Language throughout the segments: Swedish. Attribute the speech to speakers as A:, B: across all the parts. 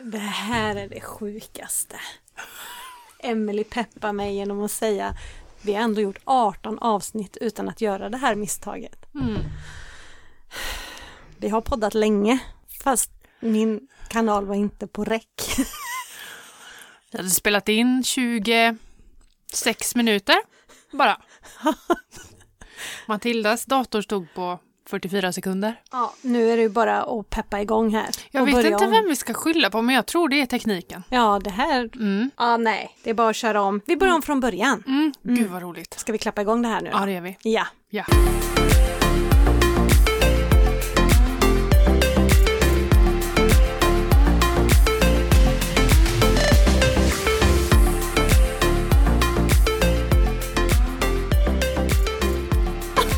A: Det här är det sjukaste. Emily peppar mig genom att säga vi har ändå gjort 18 avsnitt utan att göra det här misstaget.
B: Mm.
A: Vi har poddat länge fast min kanal var inte på räck.
B: Jag hade spelat in 26 minuter bara. Matildas dator stod på 44 sekunder.
A: Ja, nu är det ju bara att peppa igång här.
B: Jag
A: och
B: vet
A: börja
B: inte
A: om.
B: vem vi ska skylla på men jag tror det är tekniken.
A: Ja, det här.
B: Mm.
A: Ja, nej, det är bara att köra om. Vi börjar om från början.
B: Mm. Gud vad roligt.
A: Ska vi klappa igång det här nu?
B: Ja det är vi.
A: Ja.
B: Ja.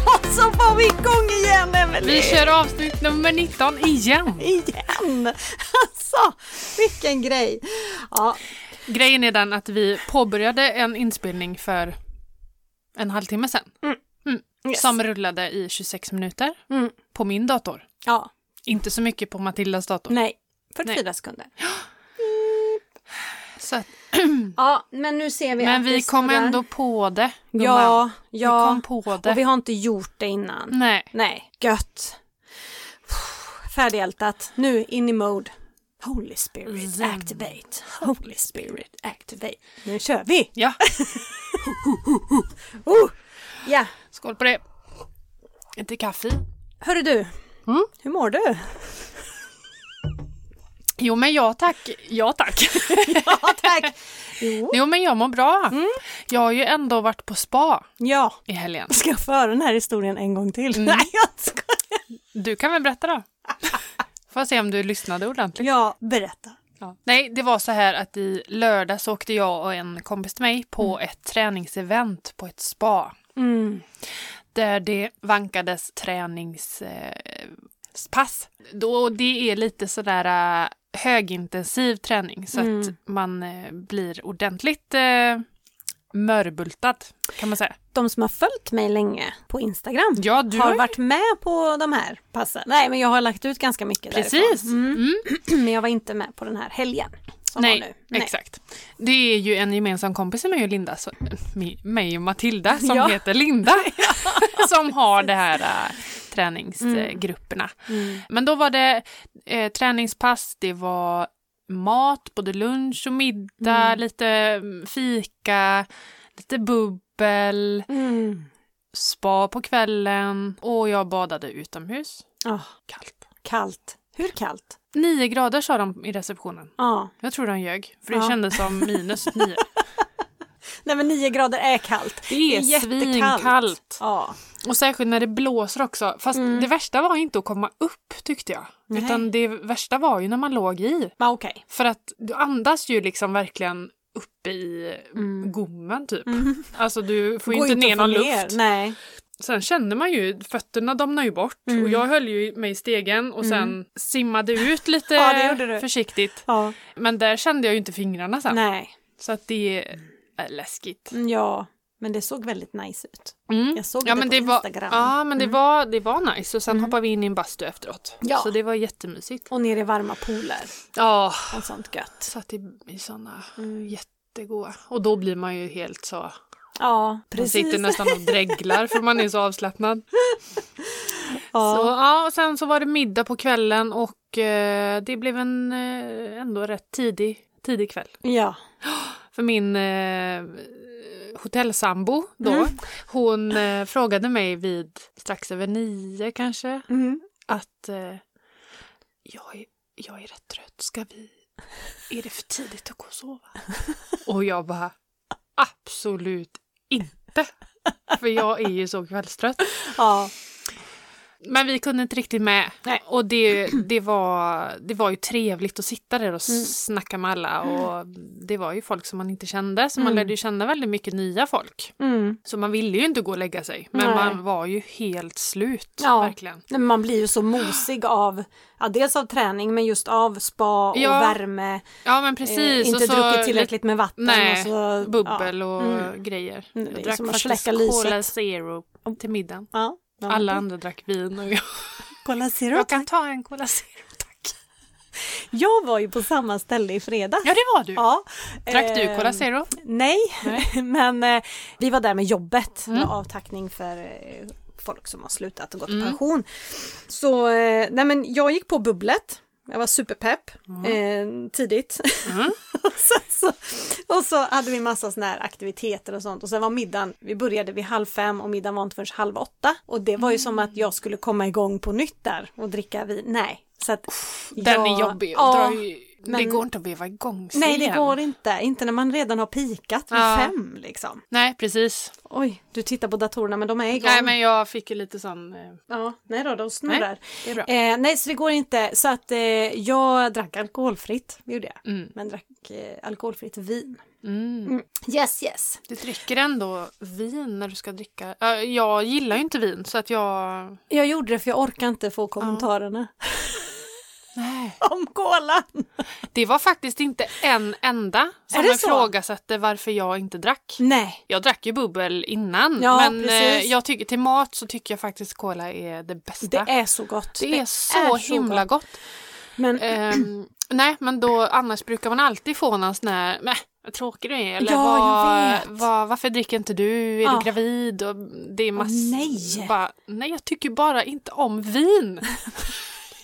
A: Och så var vi igång igen, Emelie!
B: Vi kör avsnitt nummer 19 igen.
A: Igen! Alltså, vilken grej! Ja,
B: Grejen är den att vi påbörjade en inspelning för en halvtimme sedan.
A: yes.
B: Som rullade i 26 minuter
A: Mm.
B: på min dator.
A: ja
B: Inte så mycket på Matildas dator.
A: nej. 44 sekunder.
B: Mm. Så att,
A: Ja, men nu ser vi
B: men
A: att
B: vi
A: det
B: kom
A: snurrar.
B: ändå på det. gumman.
A: Ja, ja.
B: Vi kom på det. Mm.
A: Och vi har inte gjort det innan.
B: Nej.
A: Nej, gött. Färdigältat. Nu in i mode. Holy Spirit
B: Zen.
A: activate. Holy Spirit activate. Nu kör vi!
B: Ja,
A: Oh! Ja,
B: skål på det. Inte kaffe.
A: hörru du.
B: Mm?
A: Hur mår du?
B: Jo men ja tack. Ja tack.
A: Ja, tack. Jo.
B: Jo men jag mår bra.
A: Mm.
B: Jag har ju ändå varit på spa
A: Ja.
B: i helgen.
A: Ska jag föra den här historien en gång till?
B: Mm.
A: Nej, jag skojar.
B: Du kan väl berätta då? Får se om du lyssnade ordentligt.
A: Ja, berätta.
B: Ja. Nej, det var så här att i lördag så åkte jag och en kompis till mig på ett träningsevent på ett spa.
A: Mm.
B: där det vankades träningspass. Då det är lite sådär eh, högintensiv träning så att
A: Mm.
B: man eh, blir ordentligt eh, mörbultad kan man säga.
A: De som har följt mig länge på Instagram
B: Ja, du
A: har varit med på de här passen. Nej, men jag har lagt ut ganska mycket
B: Precis.
A: därifrån. Mm.
B: Mm.
A: Men jag var inte med på den här helgen. Som
B: Nej,
A: var nu.
B: exakt. Det är ju en gemensam kompis till mig och Linda, så, mi- mig och Matilda, som
A: Ja.
B: heter Linda, som har det här äh, träningsgrupperna.
A: Mm.
B: Men då var det eh, träningspass, det var mat, både lunch och middag, lite mm, fika, lite bubbel,
A: Mm.
B: spa på kvällen och jag badade utomhus.
A: Ah,
B: Kallt.
A: kallt. Hur kallt? Ah.
B: Nio grader sa de i receptionen.
A: Ja.
B: Jag tror de ljög, för det
A: Ja.
B: kändes som minus nio.
A: Nej men nio grader är kallt.
B: Det är svinkallt.
A: Ja.
B: Och särskilt när det blåser också. Fast
A: Mm.
B: det värsta var inte att komma upp tyckte jag.
A: Nej.
B: Utan det värsta var ju när man låg i.
A: Men Ah, okej.
B: För att du andas ju liksom verkligen uppe i
A: Mm.
B: gommen typ.
A: Mm.
B: Alltså du får ju
A: Går
B: inte
A: att
B: ner
A: få
B: någon
A: ner.
B: luft.
A: Nej.
B: Sen kände man ju, fötterna domnade ju bort
A: Mm.
B: och jag höll ju mig i stegen och sen simmade ut lite
A: Ja, det gjorde du.
B: försiktigt.
A: Ja.
B: Men där kände jag ju inte fingrarna sen.
A: Ah. Nej.
B: Så att det är läskigt.
A: Mm, Ja. Men det såg väldigt nice ut.
B: Mm.
A: Jag såg
B: ja,
A: det
B: men
A: på
B: det var,
A: Instagram.
B: Ja, men det, var, det var nice. Och sen
A: Mm.
B: hoppade vi in i en bastu efteråt.
A: Ja.
B: Så det var jättemysigt.
A: Och ner i varma pooler
B: Ja,
A: och sånt gött.
B: satt i, i såna
A: Mm.
B: jättegoda. Och då blir man ju helt så...
A: Ja,
B: Man
A: precis.
B: sitter nästan och dreglar för man är så avslappnad.
A: Ja.
B: Så, ja, och sen så var det middag på kvällen och eh, det blev en eh, ändå rätt tidig, tidig kväll.
A: Ja.
B: För min eh, hotellsambo då,
A: Mm.
B: hon eh, frågade mig vid strax över nio kanske
A: Mm.
B: att eh, jag, är, jag är rätt trött, ska vi... Är det för tidigt att gå och sova? Och jag bara, absolut inte! För jag är ju så kvällstrött.
A: Ja.
B: Men vi kunde inte riktigt med.
A: Nej.
B: Och det, det, var, det var ju trevligt att sitta där och mm. snacka med alla. Och det var ju folk som man inte kände, så man
A: Mm.
B: lärde ju känna väldigt mycket nya folk.
A: Mm.
B: Så man ville ju inte gå och lägga sig, men
A: Nej.
B: man var ju helt slut.
A: Ja.
B: Verkligen.
A: Nej, men Man blir ju
B: Ah.
A: så mosig av, ja, dels av träning men just av spa och
B: Ja.
A: värme.
B: Ja, men precis.
A: eh, inte
B: och så
A: druckit tillräckligt med vatten.
B: Nej,
A: och så,
B: bubbel
A: ja.
B: och
A: Mm.
B: grejer.
A: Det är
B: Jag
A: ju
B: drack
A: som att
B: faktiskt
A: släcka lyset.
B: Cola Zero till middagen.
A: Ja. Ja.
B: Alla andra drack vin och jag,
A: Kolla, ser du?
B: jag kan ta en Cola Zero tack.
A: Jag var ju på samma ställe i fredags.
B: Ja, det var du.
A: Ja.
B: Drack du
A: Eh,
B: Cola Zero?
A: Nej,
B: Nej.
A: men eh, vi var där med jobbet med
B: Mm.
A: avtackning för eh, folk som har slutat och gått i
B: Mm.
A: pension. Så eh, nej men jag gick på bubblet. Jag var superpepp eh, tidigt.
B: Mm.
A: och, sen så, och så hade vi massa såna här aktiviteter och sånt och sen var middagen, vi började vid halv fem och middagen var inte förrän halv åtta. Och det var ju som
B: Mm.
A: att jag skulle komma igång på nytt där och dricka vin. Nej. Så att
B: Den
A: jag-
B: är jobbig.
A: Ja.
B: Drar ju, det
A: men-
B: går inte att veva igång sig
A: Nej, det
B: igen.
A: går inte. Inte när man redan har pikat vid
B: Ja.
A: fem liksom.
B: Nej, precis.
A: Oj, du tittar på datorerna men de är igång.
B: Nej, men jag fick ju lite sån... eh,
A: Ja, nej då, de snurrar.
B: Det är bra.
A: Nej. Eh, nej, så det går inte. Så att eh, jag drack alkoholfritt, det gjorde jag.
B: Mm.
A: Men drack eh, alkoholfritt vin.
B: Mm.
A: Yes, yes.
B: Du dricker ändå vin när du ska dricka. Äh, Jag gillar ju inte vin så att jag...
A: Jag gjorde det för jag orkar inte få kommentarerna
B: Nej.
A: om kolan.
B: Det var faktiskt inte en enda som
A: Är det så?
B: ifrågasatte varför jag inte drack.
A: Nej.
B: Jag drack ju bubbel innan
A: Ja,
B: men
A: precis.
B: eh, jag tycker, till mat så tycker jag faktiskt cola är det bästa.
A: Det är så gott.
B: Det är så himla gott.
A: Men
B: Ehm, nej, men då annars brukar man alltid få någon sån här, "Mäh, vad tråkig du är, eller
A: Ja, jag
B: "Vad-
A: vet."
B: vad- varför dricker inte du, är
A: Ja.
B: du gravid? Och det är mass...
A: nej.
B: Bara, nej, jag tycker bara inte om vin.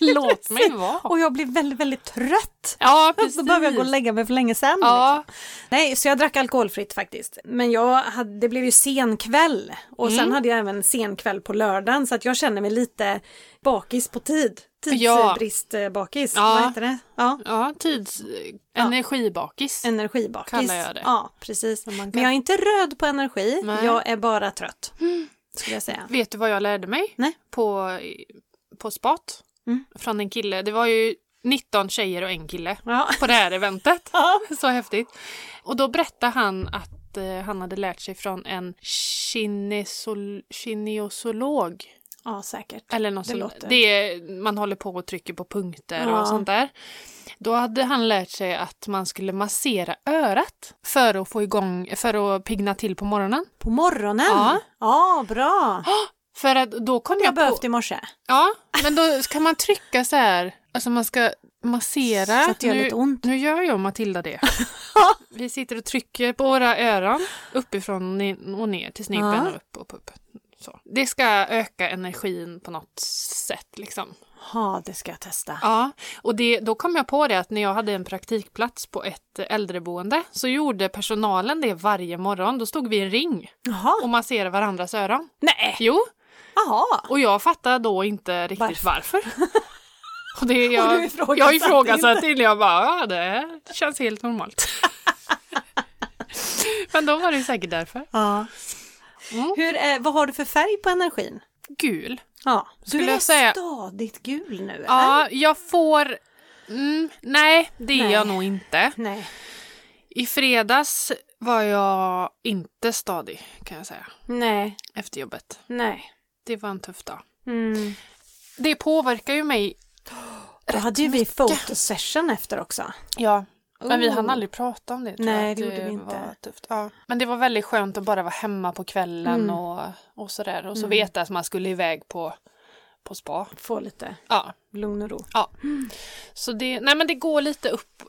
B: Låt mig vara.
A: och jag blir väldigt, väldigt trött.
B: Ja,
A: Så
B: precis.
A: behöver jag gå liksom. och lägga mig för länge sedan. liksom.
B: Ja,
A: Nej, så jag drack alkoholfritt faktiskt. Men jag hade, det blev ju sen kväll och
B: Mm.
A: sen hade jag även sen kväll på lördagen så att jag känner mig lite bakis på tid.
B: Ja.
A: Tidsbrist eh, bakis,
B: Ja.
A: vad heter det? Ja.
B: ja tids... Energibakis.
A: Energibakis.
B: Kallar jag det.
A: Ja, precis.
B: Som man
A: Men
B: kan-
A: jag är inte röd på energi,
B: Nej.
A: jag är bara trött. Skulle jag säga.
B: Vet du vad jag lärde mig?
A: Nej.
B: På, på spat.
A: Mm.
B: Från en kille. Det var ju 19 tjejer och en kille
A: Ja.
B: på det här eventet.
A: Ja.
B: Så häftigt. Och då berättade han att eh, han hade lärt sig från en kinesol- kinesolog.
A: ja, säkert.
B: Eller något
A: Det
B: sånt.
A: låter.
B: Det är, man håller på och trycker på punkter
A: Ja.
B: och sånt där. Då hade han lärt sig att man skulle massera örat för att få igång, för att pigna till på morgonen.
A: På morgonen?
B: Ja.
A: ja bra.
B: För att då kom
A: Jag,
B: jag, på...
A: behövt i morse.
B: Ja, men då kan man trycka så här. Alltså man ska massera.
A: Så att det gör
B: nu,
A: lite ont.
B: Nu gör jag och Matilda det. Vi sitter och trycker på våra öron uppifrån ni- och ner till snibben
A: Ja.
B: och upp och upp. upp. Så. Det ska öka energin på något sätt liksom.
A: Ja, det ska jag testa.
B: Ja, och det, då kom jag på det att när jag hade en praktikplats på ett äldreboende så gjorde personalen det varje morgon. Då stod vi i en ring
A: Jaha.
B: och masserade varandras öron.
A: Nej.
B: Jo,
A: Jaha.
B: och jag fattade då inte riktigt varför. Och det är jag,
A: Och du ifrågasatte
B: jag ifrågasatte inte. Jag bara, ja det känns helt normalt. Men då var det ju säkert därför.
A: Ja.
B: Mm.
A: Hur är, vad har du för färg på energin?
B: Gul.
A: Ja, du
B: Skulle
A: är
B: jag säga-
A: stadigt gul nu eller?
B: Ja, jag får... Mm, nej, det är
A: Nej.
B: jag nog inte.
A: Nej.
B: I fredags var jag inte stadig kan jag säga.
A: Nej.
B: Efter jobbet.
A: Nej.
B: Det var en tuff dag.
A: Mm.
B: Det påverkar ju mig.
A: Då hade ju vi fotosession efter också.
B: Ja. Men vi
A: Oh.
B: hann aldrig prata om det. Tror
A: Nej,
B: jag, att
A: det gjorde vi inte.
B: Var tufft. Ja. Men det var väldigt skönt att bara vara hemma på kvällen
A: Mm.
B: och, och sådär. Och så veta att man skulle iväg på, på spa.
A: Få lite
B: Ja.
A: lugn och ro.
B: ja. Så det, nej men det går lite upp,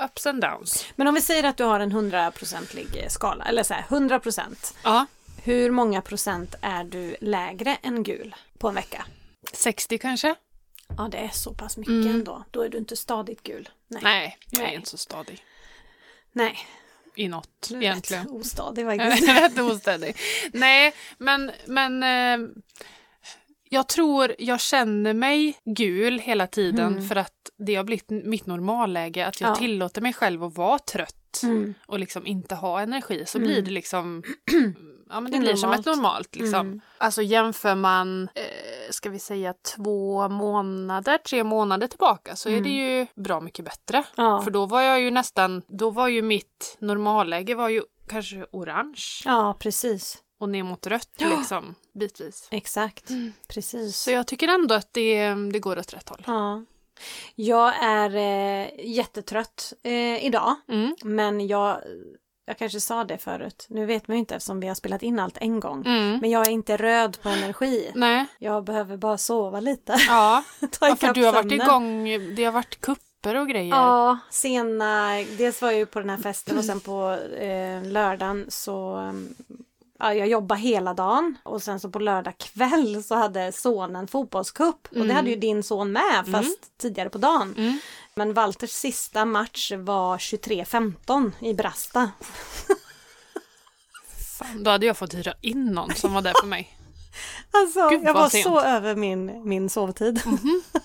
B: eh, ups and downs.
A: Men om vi säger att du har en 100-procentig skala, eller så här 100 procent.
B: Ja.
A: Hur många procent är du lägre än gul på en vecka?
B: 60 kanske?
A: Ja, det är så pass mycket ändå. Då är du inte stadigt gul. Mm. Nej.
B: Nej, jag
A: Nej.
B: är inte så stadig.
A: Nej.
B: I något
A: Du är
B: egentligen.
A: rätt Ostadig faktiskt.
B: Rätt ostädig. Nej, men, men eh, jag tror jag känner mig gul hela tiden för att det har blivit mitt normalläge. Att jag
A: Mm. Ja.
B: tillåter mig själv att vara trött
A: Mm.
B: och liksom inte ha energi. Så blir det liksom... Ja, men det
A: Det är
B: blir som ett
A: normalt. Mm.
B: normalt. Liksom. Alltså jämför man, eh, ska vi säga två månader, tre månader tillbaka så är det ju bra mycket bättre.
A: Mm. Ja.
B: För då var jag ju nästan, då var ju mitt normalläge var ju kanske orange
A: ja, precis.
B: och ner mot rött liksom, bitvis.
A: Exakt.
B: Mm.
A: Precis.
B: Så jag tycker ändå att det, det går åt rätt håll.
A: Ja. Jag är eh, jättetrött eh, idag,
B: Mm.
A: men jag jag kanske sa det förut, nu vet man ju inte eftersom vi har spelat in allt en gång.
B: Mm.
A: Men jag är inte röd på energi.
B: Nej.
A: Jag behöver bara sova lite.
B: Ja.
A: Ta
B: ja, för
A: ikapp
B: du har varit
A: sömnen.
B: igång, det har varit kupper och grejer.
A: Ja, sena. Dels var jag ju på den här festen och sen på eh, lördagen så mm, Ja, jag jobbade hela dagen och sen så på lördag kväll så hade sonen fotbollscup och det hade ju din son med fast tidigare på dagen.
B: Mm.
A: Men Walters sista match var 23.15 i Brasta.
B: Fan, då hade jag fått hyra in någon som var där för mig.
A: Alltså,
B: Gud,
A: jag
B: vad
A: var
B: sent. Mhm.
A: så över min, min sovtid.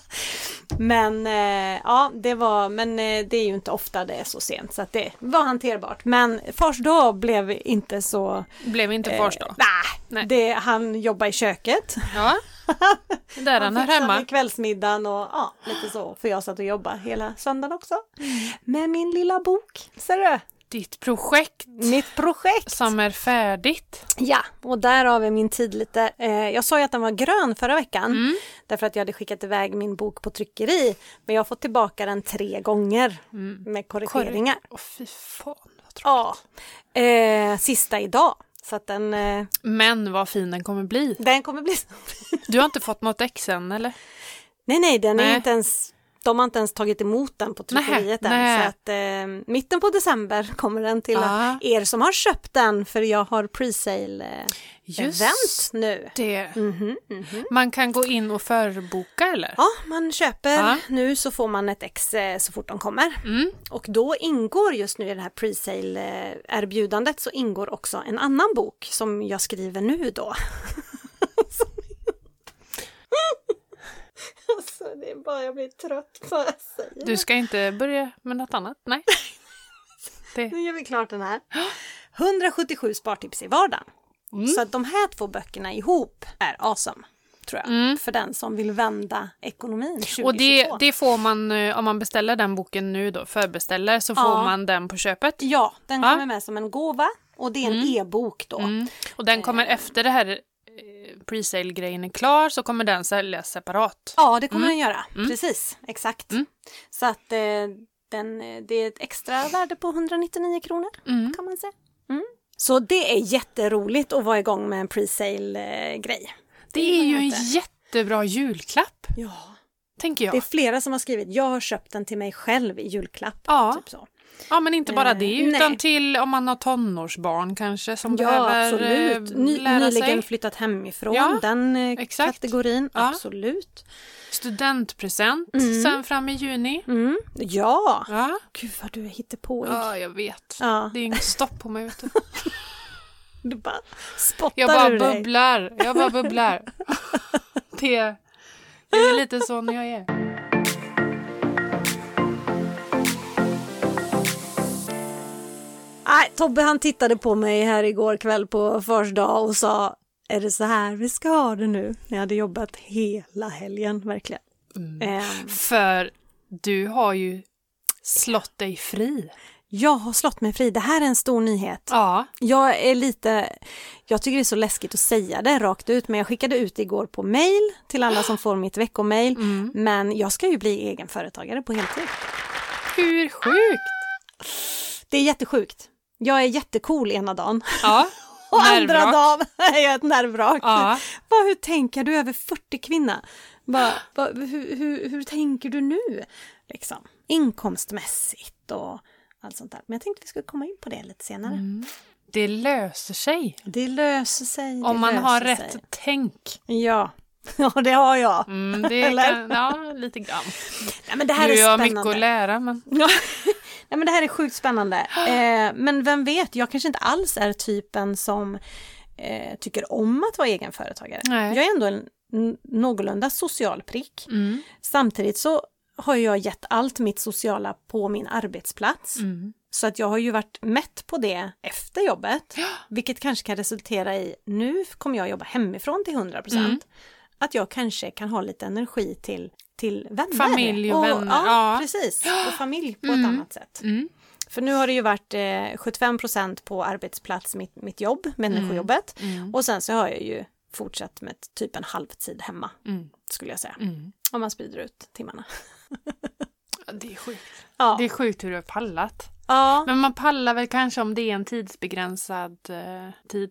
A: men eh, ja, det var, men eh, det är ju inte ofta det är så sent så att det var hanterbart. Men fars dag blev inte så... eh,
B: Blev inte fars då.
A: Nej.
B: Nej.
A: Det, han jobbade i köket.
B: Ja. Där han hör
A: fixade
B: hemma.
A: kvällsmiddagen och ja, lite så. För jag satt och jobbade hela söndagen också.
B: Mm.
A: Med min lilla bok, ser du?
B: Ditt projekt
A: Mitt projekt!
B: som är färdigt.
A: Ja, och därav är min tid lite... Eh, jag sa ju att den var grön förra veckan
B: Mm.
A: därför att jag hade skickat iväg min bok på tryckeri. Men jag har fått tillbaka den tre gånger
B: Mm.
A: med korrigeringar.
B: Åh fy fan vad tråkigt.
A: ja, eh, sista idag. Så att den, eh,
B: Men vad fin den kommer bli.
A: den kommer bli... så fin.
B: Du har inte fått något ex än eller?
A: nej, nej, den är
B: Nej.
A: inte ens... De har inte ens tagit emot den på tryckeriet
B: Nej,
A: än.
B: nej.
A: Så att eh, mitten på december kommer den till
B: Ah.
A: er som har köpt den för jag har pre-sale-event
B: Just
A: nu.
B: det.
A: Mhm, mhm.
B: Man kan gå in och förboka eller?
A: Ja, man köper
B: Ja.
A: nu så får man ett ex eh, så fort de kommer.
B: Mm.
A: Och då ingår just nu i det här pre-sale-erbjudandet så ingår också en annan bok som jag skriver nu då. alltså det är bara jag blir trött på att säga.
B: Du ska inte börja med något annat? Nej. Det.
A: Nu gör vi klart den här. 177 spartips i vardagen.
B: Mm.
A: Så att de här två böckerna ihop är awesome. Tror jag.
B: Mm.
A: För den som vill vända ekonomin 2022.
B: Och det, det får man, eh, om man beställer den boken nu då, förbeställer, så får
A: Ja.
B: man den på köpet.
A: Ja, den
B: Ja.
A: kommer med som en gåva och det är en e-bok då.
B: Mm. Och den kommer efter det här eh, presale-grejen är klar så kommer den säljas separat.
A: Ja, det kommer den
B: Mm.
A: göra. Precis, exakt. Så att eh, den, eh, det är ett extra värde på 199 kronor
B: Mm.
A: kan man säga. Mm. Så det är jätteroligt att vara igång med en eh, pre-sale-grej.
B: Det är ju en
A: inte.
B: jättebra julklapp,
A: Ja.
B: tänker jag.
A: Det är flera som har skrivit, jag har köpt den till mig själv i julklapp.
B: Ja.
A: Typ så.
B: Ja, men inte bara
A: Eh,
B: det,
A: nej.
B: utan till om man har tonårsbarn kanske
A: Ja,
B: som behöver
A: absolut.
B: eh,
A: Ny,
B: lära
A: nyligen
B: sig.
A: flyttat hemifrån,
B: Ja,
A: den eh,
B: exakt.
A: kategorin.
B: Ja.
A: Absolut.
B: Studentpresent sen fram i juni.
A: Mm. Ja!
B: Ja,
A: Gud vad du hittar på.
B: ja jag vet.
A: Ja.
B: Det är inget stopp på mig, vet du.
A: Du bara spottar
B: Jag bara
A: ur dig.
B: bubblar. Jag bara bubblar. Det, det är lite sån jag är.
A: Nej, Tobbe han tittade på mig här igår kväll på fars dag och sa är det så här vi ska ha det nu? När jag hade jobbat hela helgen verkligen.
B: Mm.
A: Ehm,
B: För du har ju slått dig fri.
A: jag har slått mig fri, det här är en stor nyhet.
B: Ja.
A: Jag är lite, jag tycker det är så läskigt att säga det rakt ut, men jag skickade ut det igår på mail till alla som får mitt veckomail.
B: Mm.
A: Men jag ska ju bli egenföretagare på heltid.
B: Hur sjukt?
A: Det är jättesjukt. Jag är jättecool ena dagen
B: Ja.
A: och andra
B: Nervrak.
A: dagen är jag ett nervvrak.
B: Ja.
A: Bara, hur tänker du över 40 kvinna? Bara, bara, hur, hur, hur tänker du nu? Liksom. Inkomstmässigt och allt sånt där. Men jag tänkte vi skulle komma in på det lite senare.
B: Mm. Det löser sig.
A: Det löser sig. det
B: Om man har
A: löser
B: rätt
A: sig.
B: tänk.
A: Ja. ja, det har jag.
B: Mm, det
A: Eller?
B: kan, ja, lite grann.
A: Nej, men det
B: Nu
A: här
B: har
A: är
B: jag mycket
A: spännande.
B: att lära, men
A: Ja. Nej, men det här är sjukt spännande. Eh, men vem vet, jag kanske inte alls är typen som eh, tycker om att vara egenföretagare.
B: Nej.
A: Jag är ändå en n- någorlunda social prick. Samtidigt så har jag gett allt mitt sociala på min arbetsplats. Så att jag har ju varit mätt på det efter jobbet, vilket kanske kan resultera i nu kommer jag jobba hemifrån till 100 procent.
B: Mm.
A: Att jag kanske kan ha lite energi till, till vänner.
B: Familj och vänner,
A: Ja,
B: ja.
A: precis. Och familj på ett annat sätt.
B: Mm.
A: För nu har det ju varit eh, 75 procent på arbetsplats, mitt, mitt jobb, människojobbet.
B: Mm.
A: Och sen så har jag ju fortsatt med typ en halvtid hemma,
B: Mm.
A: skulle jag säga.
B: Mm.
A: Om man sprider ut timmarna.
B: det är sjukt.
A: Ja.
B: Det är sjukt hur du har pallat.
A: Ja.
B: Men man pallar väl kanske om det är en tidsbegränsad eh, tid.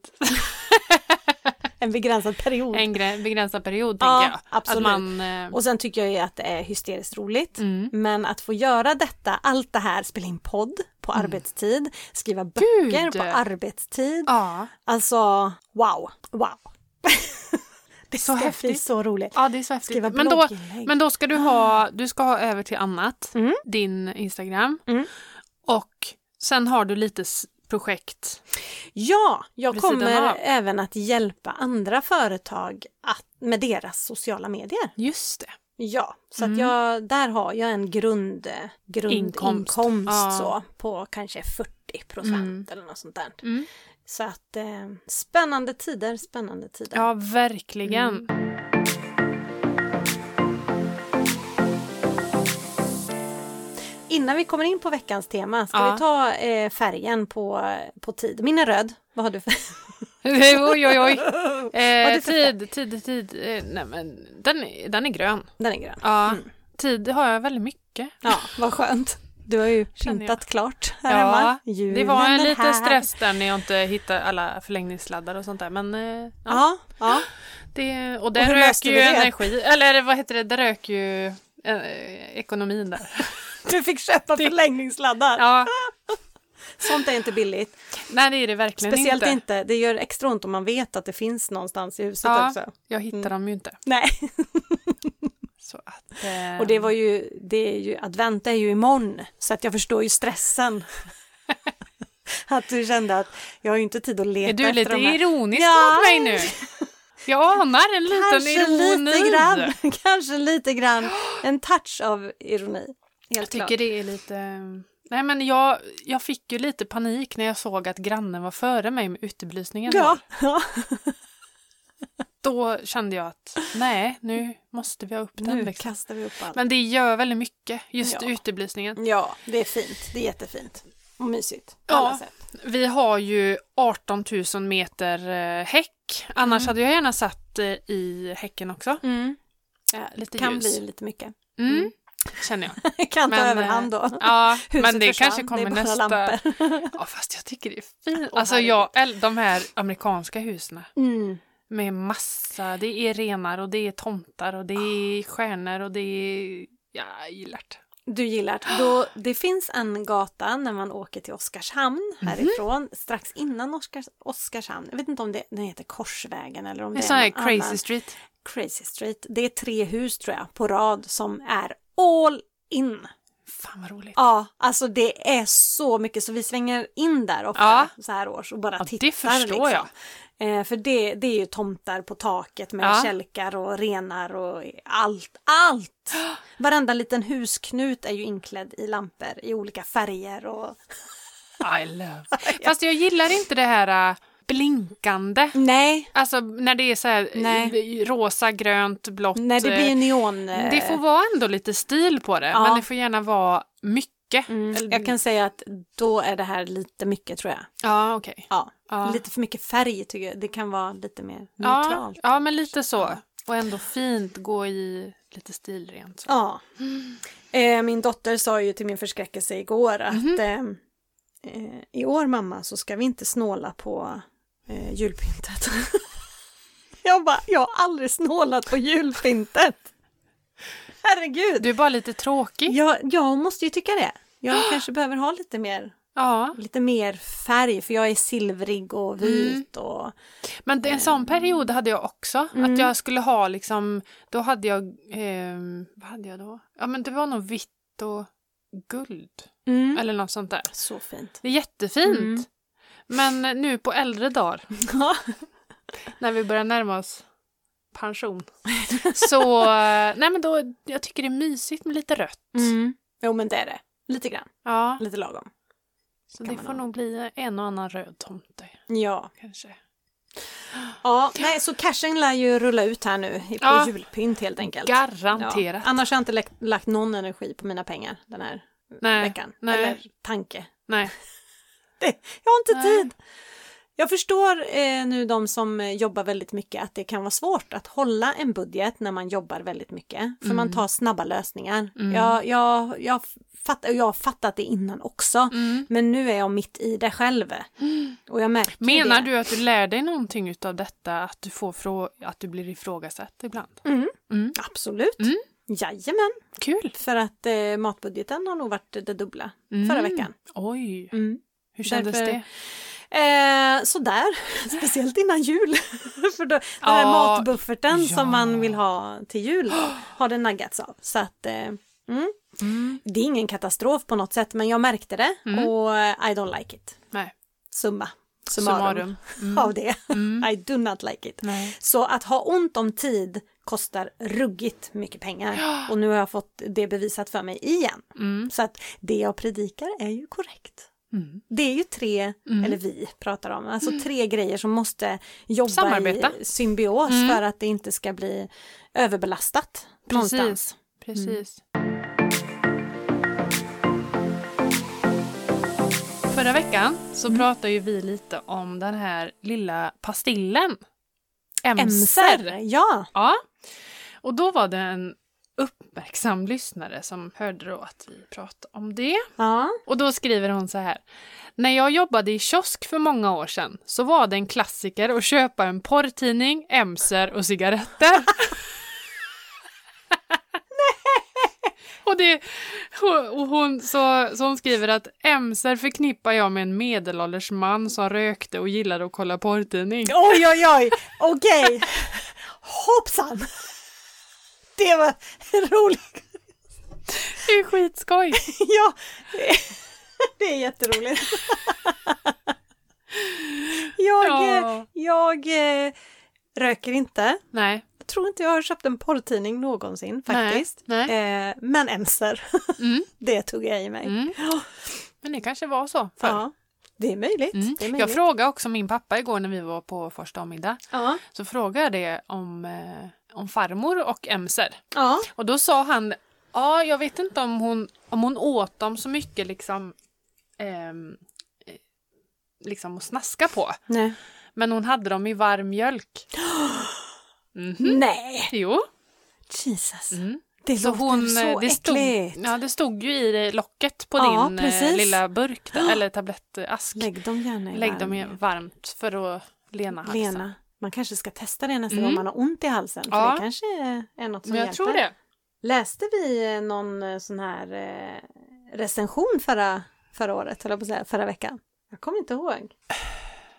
A: En begränsad period.
B: en grä- begränsad period,
A: Ja,
B: tänker jag.
A: absolut.
B: Att man... Eh,
A: Och sen tycker jag ju att det är hysteriskt roligt.
B: mm.
A: Men att få göra detta, allt det här, spela in podd på
B: Mm.
A: arbetstid, skriva böcker på arbetstid.
B: Ja.
A: Alltså, wow, wow. det
B: Så
A: ska bli
B: häftigt.
A: så roligt.
B: ja, det är så häftigt.
A: Skriva
B: men, då,
A: blogginlägg.
B: men då ska du ha, du ska ha över till annat,
A: Mm.
B: din Instagram.
A: Mm.
B: Och sen har du lite s- projekt.
A: Ja, jag
B: Vid sidan
A: kommer
B: av.
A: även att hjälpa andra företag att, med deras sociala medier.
B: Just det.
A: Ja, så att
B: Mm.
A: jag, där har jag en grund, grundinkomst
B: Ja.
A: så, på kanske 40 procent
B: Mm.
A: eller något sånt där.
B: Mm.
A: Så att eh, spännande tider, spännande tider.
B: Ja, verkligen.
A: Mm. Innan vi kommer in på veckans tema, ska
B: Ja.
A: vi ta eh, färgen på, på tid? Min är röd. Vad har du för
B: oj, oj, oj.
A: Vad är
B: Eh,
A: det för
B: tid, tid, tid. Eh, nej, men den, är- den är grön.
A: Den är grön.
B: Ja. Tid har jag väldigt mycket.
A: Ja, vad skönt. Du har ju
B: Känner
A: pyntat klart här hemma.
B: Ja,
A: Julen
B: det var en
A: är
B: liten
A: här.
B: stress där när jag inte hittade alla förlängningssladdar och sånt där. Men eh, ja,
A: Ja, ja.
B: det, och
A: Och
B: där
A: hur
B: rök
A: löste
B: ju
A: vi det?
B: energi, eller vad heter det, där rök ju eh, ekonomin där.
A: Du fick köpa förlängningssladdar.
B: Ja,
A: Sånt är inte billigt.
B: nej det är det verkligen
A: Speciellt inte.
B: inte.
A: Det gör extra ont om man vet att det finns någonstans i huset
B: Ja.
A: också.
B: Jag hittar
A: Mm.
B: dem ju inte.
A: Nej,
B: Så att, eh,
A: och det var ju, det är ju, advent är ju imorgon, så att jag förstår ju stressen. att du kände att jag har ju inte tid att leta
B: är du lite
A: efter de här.
B: ironisk
A: Ja.
B: mot mig nu? Jag anar en liten
A: Kanske
B: ironi.
A: lite grann, kanske lite grann, en touch av ironi.
B: Jag
A: Helt klart.
B: tycker det är lite... Nej men jag, jag fick ju lite panik när jag såg att grannen var före mig med utebelysningen.
A: Ja, ja.
B: Då kände jag att nej, nu måste vi ha upp den.
A: nu
B: Liksom.
A: kastar vi upp allt.
B: Men det gör väldigt mycket, just
A: Ja.
B: utebelysningen.
A: Ja, det är fint. Det är jättefint. Och mysigt. På
B: Ja.
A: alla sätt.
B: Vi har ju 18 000 meter eh, häck. Annars
A: Mm.
B: hade jag gärna satt eh, i häcken också. Mm. Ja, lite
A: Kan
B: ljus.
A: bli lite mycket.
B: Mm, känner jag.
A: kan ta
B: Men,
A: över
B: eh,
A: hand då.
B: Ja,
A: Huset
B: men det
A: försvann,
B: kanske kommer
A: det är bara
B: nästa.
A: Lampor.
B: Ja, fast jag tycker det är fint.
A: Åh,
B: Alltså jag, äl- de här amerikanska husen.
A: Mm.
B: Med massa, det är renar och det är tomtar och det är stjärnor och det är... Ja, jag gillar det.
A: Du gillar det. Då, det finns en gata när man åker till Oskarshamn
B: Mhm.
A: härifrån, strax innan Oskars, Oskarshamn. Jag vet inte om det, den heter Korsvägen eller om
B: Det
A: det,
B: är sån här
A: någon
B: crazy
A: annan.
B: street.
A: crazy Street. Det är tre hus tror jag på rad som är all in.
B: Fan vad roligt.
A: Ja, alltså det är så mycket så vi svänger in där ofta
B: Ja.
A: så här års och bara
B: Ja,
A: tittar.
B: det förstår
A: liksom.
B: jag.
A: Eh, för det, det är ju tomtar på taket med
B: Ja.
A: kälkar och renar och allt, allt! Varenda liten husknut är ju inklädd i lampor i olika färger och...
B: I love. Fast jag gillar inte det här äh, blinkande.
A: Nej,
B: Alltså när det är så här äh,
A: Nej.
B: rosa, grönt, blått.
A: nej det blir ju
B: äh,
A: neon... eh,
B: det får vara ändå lite stil på det,
A: Ja.
B: men det får gärna vara mycket.
A: mm,
B: Eller-
A: jag kan säga att då är det här lite mycket tror jag.
B: Ja, okej.
A: Ja,
B: Ja.
A: lite för mycket färg tycker jag. Det kan vara lite mer
B: Ja,
A: neutralt.
B: ja, men lite så. Och ändå fint, gå i lite stilrent. Så.
A: Ja. Eh, min dotter sa ju till min förskräckelse igår att eh, eh, i år mamma så ska vi inte snåla på eh, julpyntet. jag bara, jag har aldrig snålat på julpyntet. Herregud.
B: Du är bara lite tråkig.
A: Jag, jag måste ju tycka det. Jag kanske behöver ha lite mer,
B: Ja,
A: lite mer färg för jag är silvrig och vit och
B: men det, en sån
A: Ehm.
B: period hade jag också.
A: Mm.
B: Att jag skulle ha liksom, då hade jag, ehm, vad hade jag då? Ja men det var nog vitt och guld.
A: Mm.
B: Eller något sånt där.
A: så fint.
B: Det är jättefint. Men nu på äldre dagar, när vi börjar närma oss pension. Så, eh, nej men då, jag tycker det är mysigt med lite rött.
A: Mm. Jo men det är det. Lite grann,
B: Ja,
A: lite lagom.
B: så
A: kan
B: det
A: man
B: får
A: ha.
B: nog bli en och annan röd tomte
A: Ja.
B: kanske.
A: Ja, nej, så cashen lär ju rulla ut här nu på
B: Ja.
A: julpynt helt enkelt.
B: Garanterat.
A: Ja. Annars har jag inte lagt, lagt någon energi på mina pengar den här
B: Nej,
A: veckan.
B: nej.
A: Eller tanke.
B: nej.
A: Det, jag har inte
B: Nej.
A: tid. Jag förstår eh, nu de som eh, jobbar väldigt mycket att det kan vara svårt att hålla en budget när man jobbar väldigt mycket. För
B: Mm.
A: man tar snabba lösningar. Jag, jag, jag, fattar, jag har fattat det innan också.
B: Mm.
A: Men nu är jag mitt i det själv. Och jag märker
B: Menar
A: det.
B: du att du lär dig någonting av detta, att du, får frå- att du blir ifrågasatt ibland?
A: Absolut.
B: Mm.
A: Jajamän.
B: Kul!
A: För att eh, matbudgeten har nog varit det dubbla
B: Mm.
A: förra veckan.
B: Oj,
A: Mm.
B: hur kändes
A: Därför-
B: det?
A: Eh, sådär, speciellt innan jul. För då, den här
B: Ja,
A: matbufferten
B: ja.
A: som man vill ha till jul har det naggats av. Så att, eh, mm.
B: Mm.
A: Det är ingen katastrof på något sätt men jag märkte det
B: Mm.
A: och eh, I don't like it.
B: Nej,
A: Summa summarum,
B: summarum.
A: av det.
B: Mm.
A: I do not like it.
B: Nej.
A: Så att ha ont om tid kostar ruggigt mycket pengar och nu har jag fått det bevisat för mig igen.
B: Mm.
A: Så att det jag predikar är ju korrekt.
B: Mm.
A: Det är ju tre, eller vi pratar om, alltså tre grejer som måste jobba
B: Samarbeta.
A: i symbios för att det inte ska bli överbelastat någonstans.
B: Precis. Förra veckan så pratade ju vi lite om den här lilla pastillen.
A: Mm. Emser, ja.
B: Ja. Och då var det en uppmärksam lyssnare som hörde då att vi pratade om det.
A: ja.
B: Och då skriver hon så här. När jag jobbade i kiosk för många år sedan så var det en klassiker att köpa en porrtidning, emser och cigaretter. och det, och och hon, så, så hon skriver att emser förknippar jag med en medelålders man som rökte och gillade att kolla porrtidning.
A: Oj, oj, oj, okej. Hoppsan! Det var roligt.
B: Det är skitskoj!
A: Ja, det- det är jätteroligt. Jag,
B: Ja.
A: eh, jag eh, röker inte.
B: Nej.
A: Jag tror inte jag har köpt en porrtidning någonsin faktiskt.
B: Nej,
A: Eh, men emser,
B: Mm.
A: det tog jag i mig.
B: Mm.
A: Ja,
B: Men det kanske var så förr.
A: ja, det är möjligt. Det är
B: Mm. Jag
A: möjligt.
B: frågade också min pappa igår när vi var på första middag.
A: ja.
B: Så frågade jag det om, eh, om farmor och emser.
A: Ja.
B: Och då sa han, ja jag vet inte om hon, om hon åt dem så mycket liksom, ehm, eh, liksom att snaska på.
A: Nej.
B: Men hon hade dem i varm mjölk. Mhm.
A: Nej,
B: Jo.
A: Jesus.
B: Mm.
A: Det
B: Så
A: låter
B: hon,
A: så
B: eh, det, stod,
A: äckligt.
B: ja, det stod ju i det locket på
A: Ja,
B: din eh,
A: precis.
B: lilla burk där, eller tablettask. Lägg,
A: Lägg dem gärna i
B: dem i
A: varm-
B: varmt för att lena halsen.
A: Lena, man kanske ska testa det nästa
B: Mm.
A: gång man har ont i halsen. För
B: Ja.
A: det kanske är något som
B: Men jag
A: hjälper.
B: tror det.
A: Läste vi eh, någon eh, sån här eh, recension förra, förra året, eller på att säga, förra veckan? Jag kommer inte ihåg.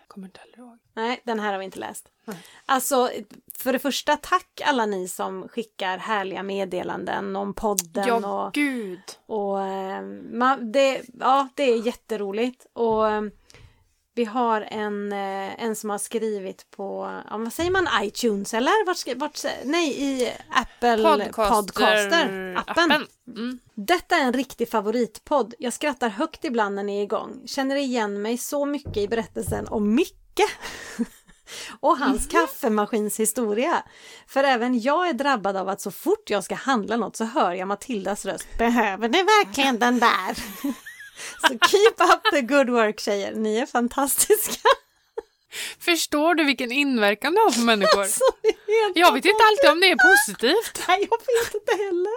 B: Kommer inte heller ihåg.
A: Nej, den här har vi inte läst.
B: Nej.
A: Alltså, för det första, tack alla ni som skickar härliga meddelanden om podden och
B: Ja, gud.
A: och eh, man, det, ja, det är jätteroligt. Och eh, vi har en, eh, en som har skrivit på, ja, vad säger man, iTunes eller? Vart, skri- vart, sä- nej, i Apple
B: Podcaster-
A: Podcaster-appen.
B: appen. Mm.
A: Detta är en riktig favoritpodd. Jag skrattar högt ibland när ni är igång. Känner igen mig så mycket i berättelsen om Micke och hans
B: Mhm.
A: kaffemaskins historia. För även jag är drabbad av att så fort jag ska handla något så hör jag Matildas röst. Behöver ni verkligen den där? Så keep up the good work tjejer, ni är fantastiska.
B: Förstår du vilken inverkan det har på människor?
A: Så ni Alltså, är
B: Jag vet inte alltid om det är positivt.
A: Nej, jag vet inte heller.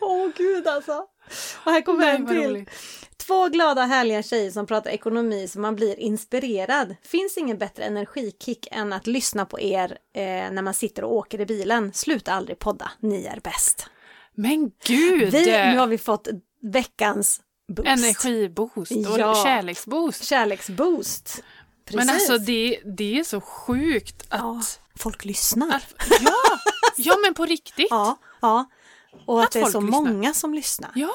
A: Åh gud alltså. Och här kommer
B: Nej,
A: en
B: vad
A: till.
B: roligt.
A: Två glada härliga tjejer som pratar ekonomi så man blir inspirerad. Finns ingen bättre energikick än att lyssna på er eh, när man sitter och åker i bilen. Sluta aldrig podda, ni är bäst.
B: Men gud! eh,
A: Vi, nu har vi fått veckans boost.
B: Energiboost och
A: Ja.
B: kärleksboost.
A: Kärleksboost. Precis.
B: Men alltså det, det är så sjukt att...
A: ja, folk lyssnar.
B: att ja. ja, men på riktigt.
A: Ja, ja. Och att,
B: Att
A: det är
B: folk
A: så
B: lyssnar.
A: många som lyssnar
B: Ja.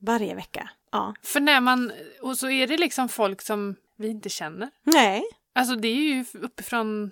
A: varje vecka. Ja.
B: För när man... Och så är det liksom folk som vi inte känner.
A: Nej,
B: Alltså det är ju uppifrån...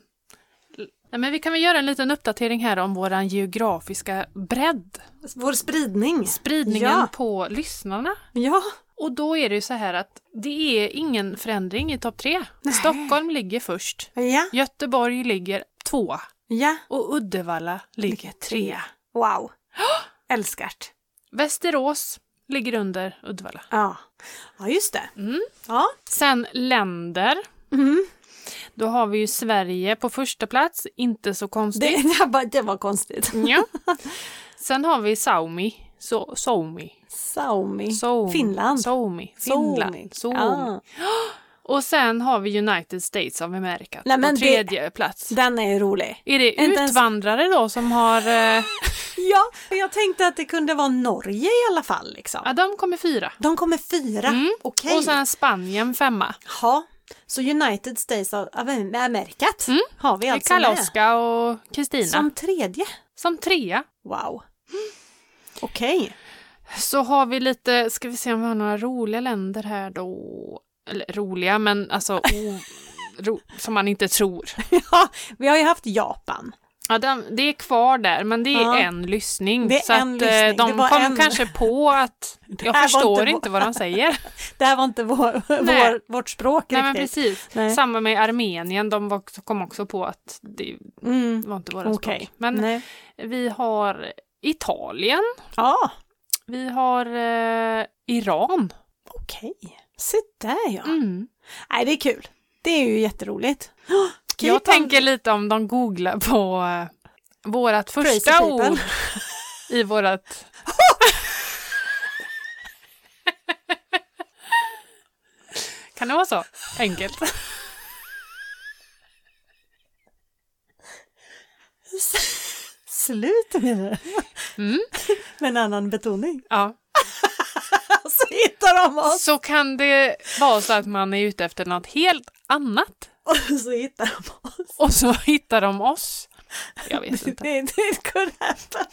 B: Nej, men vi kan väl göra en liten uppdatering här om våran geografiska bredd.
A: vår spridning.
B: Spridningen
A: Ja.
B: på lyssnarna.
A: Ja,
B: Och då är det ju så här att det är ingen förändring i topp tre. Stockholm ligger först.
A: ja,
B: Göteborg ligger tvåa.
A: ja.
B: Och Uddevalla ligger trea.
A: Wow. Älskart.
B: Västerås ligger under Uddevalla.
A: Ja, ja just det.
B: Mm.
A: Ja.
B: Sen länder.
A: Mm.
B: Då har vi ju Sverige på första plats, inte så konstigt.
A: Det, Mm. det, var, det var konstigt.
B: Ja. Sen har vi Saumi. So, Soumi.
A: Saumi.
B: Soumi.
A: Finland. Ah.
B: Soumi. Finland.
A: Soumi.
B: Soumi.
A: Ja.
B: Och sen har vi United States of America
A: Nej, men
B: på
A: det-
B: tredje plats.
A: Den är ju rolig.
B: Är det
A: Inte ens-
B: utvandrare då som har... Eh,
A: Ja, men jag tänkte att det kunde vara Norge i alla fall. Liksom.
B: ja, de kommer fyra.
A: De kommer fyra.
B: Mm.
A: Okej.
B: Och sen Spanien femma.
A: Ja, så United States of of America har vi alltså med.
B: Kaloska och Kristina. Som...
A: Som tredje.
B: trea.
A: Wow. Okej.
B: Så har vi lite, ska vi se om vi har några roliga länder här då. Eller roliga, men alltså o... ro... som man inte tror.
A: Ja, vi har ju haft Japan.
B: Ja, den, det är kvar där, men det är
A: Ja.
B: en lyssning.
A: Det är
B: så
A: en
B: att, eh,
A: lyssning.
B: de
A: Det var
B: kom
A: en.
B: kanske på att
A: här
B: jag
A: var
B: förstår
A: inte
B: inte,
A: vår-
B: vad de säger.
A: Det här var inte vår,
B: Nej.
A: vår, vårt språk
B: Nej, men
A: riktigt.
B: precis.
A: Nej.
B: Samma med Armenien, de var också, kom också på att det
A: Mm.
B: var inte våra
A: Okej.
B: språk. Men
A: Nej.
B: vi har Italien,
A: Ja,
B: vi har eh, Iran.
A: okej. Se där ja.
B: Mm.
A: Nej, det är kul. Det är ju jätteroligt. Keep on-
B: Jag tänker lite om de googlar på eh, vårat
A: Crazy
B: första
A: people.
B: ord i vårat... kan det vara så enkelt?
A: Slut med
B: Mm.
A: Med en annan betoning.
B: Ja.
A: Så hittar de oss.
B: Så kan det vara så att man är ute efter något helt annat
A: Och så hittar de oss.
B: och så hittar de oss. Jag vet
A: Det,
B: inte.
A: det, det could happen.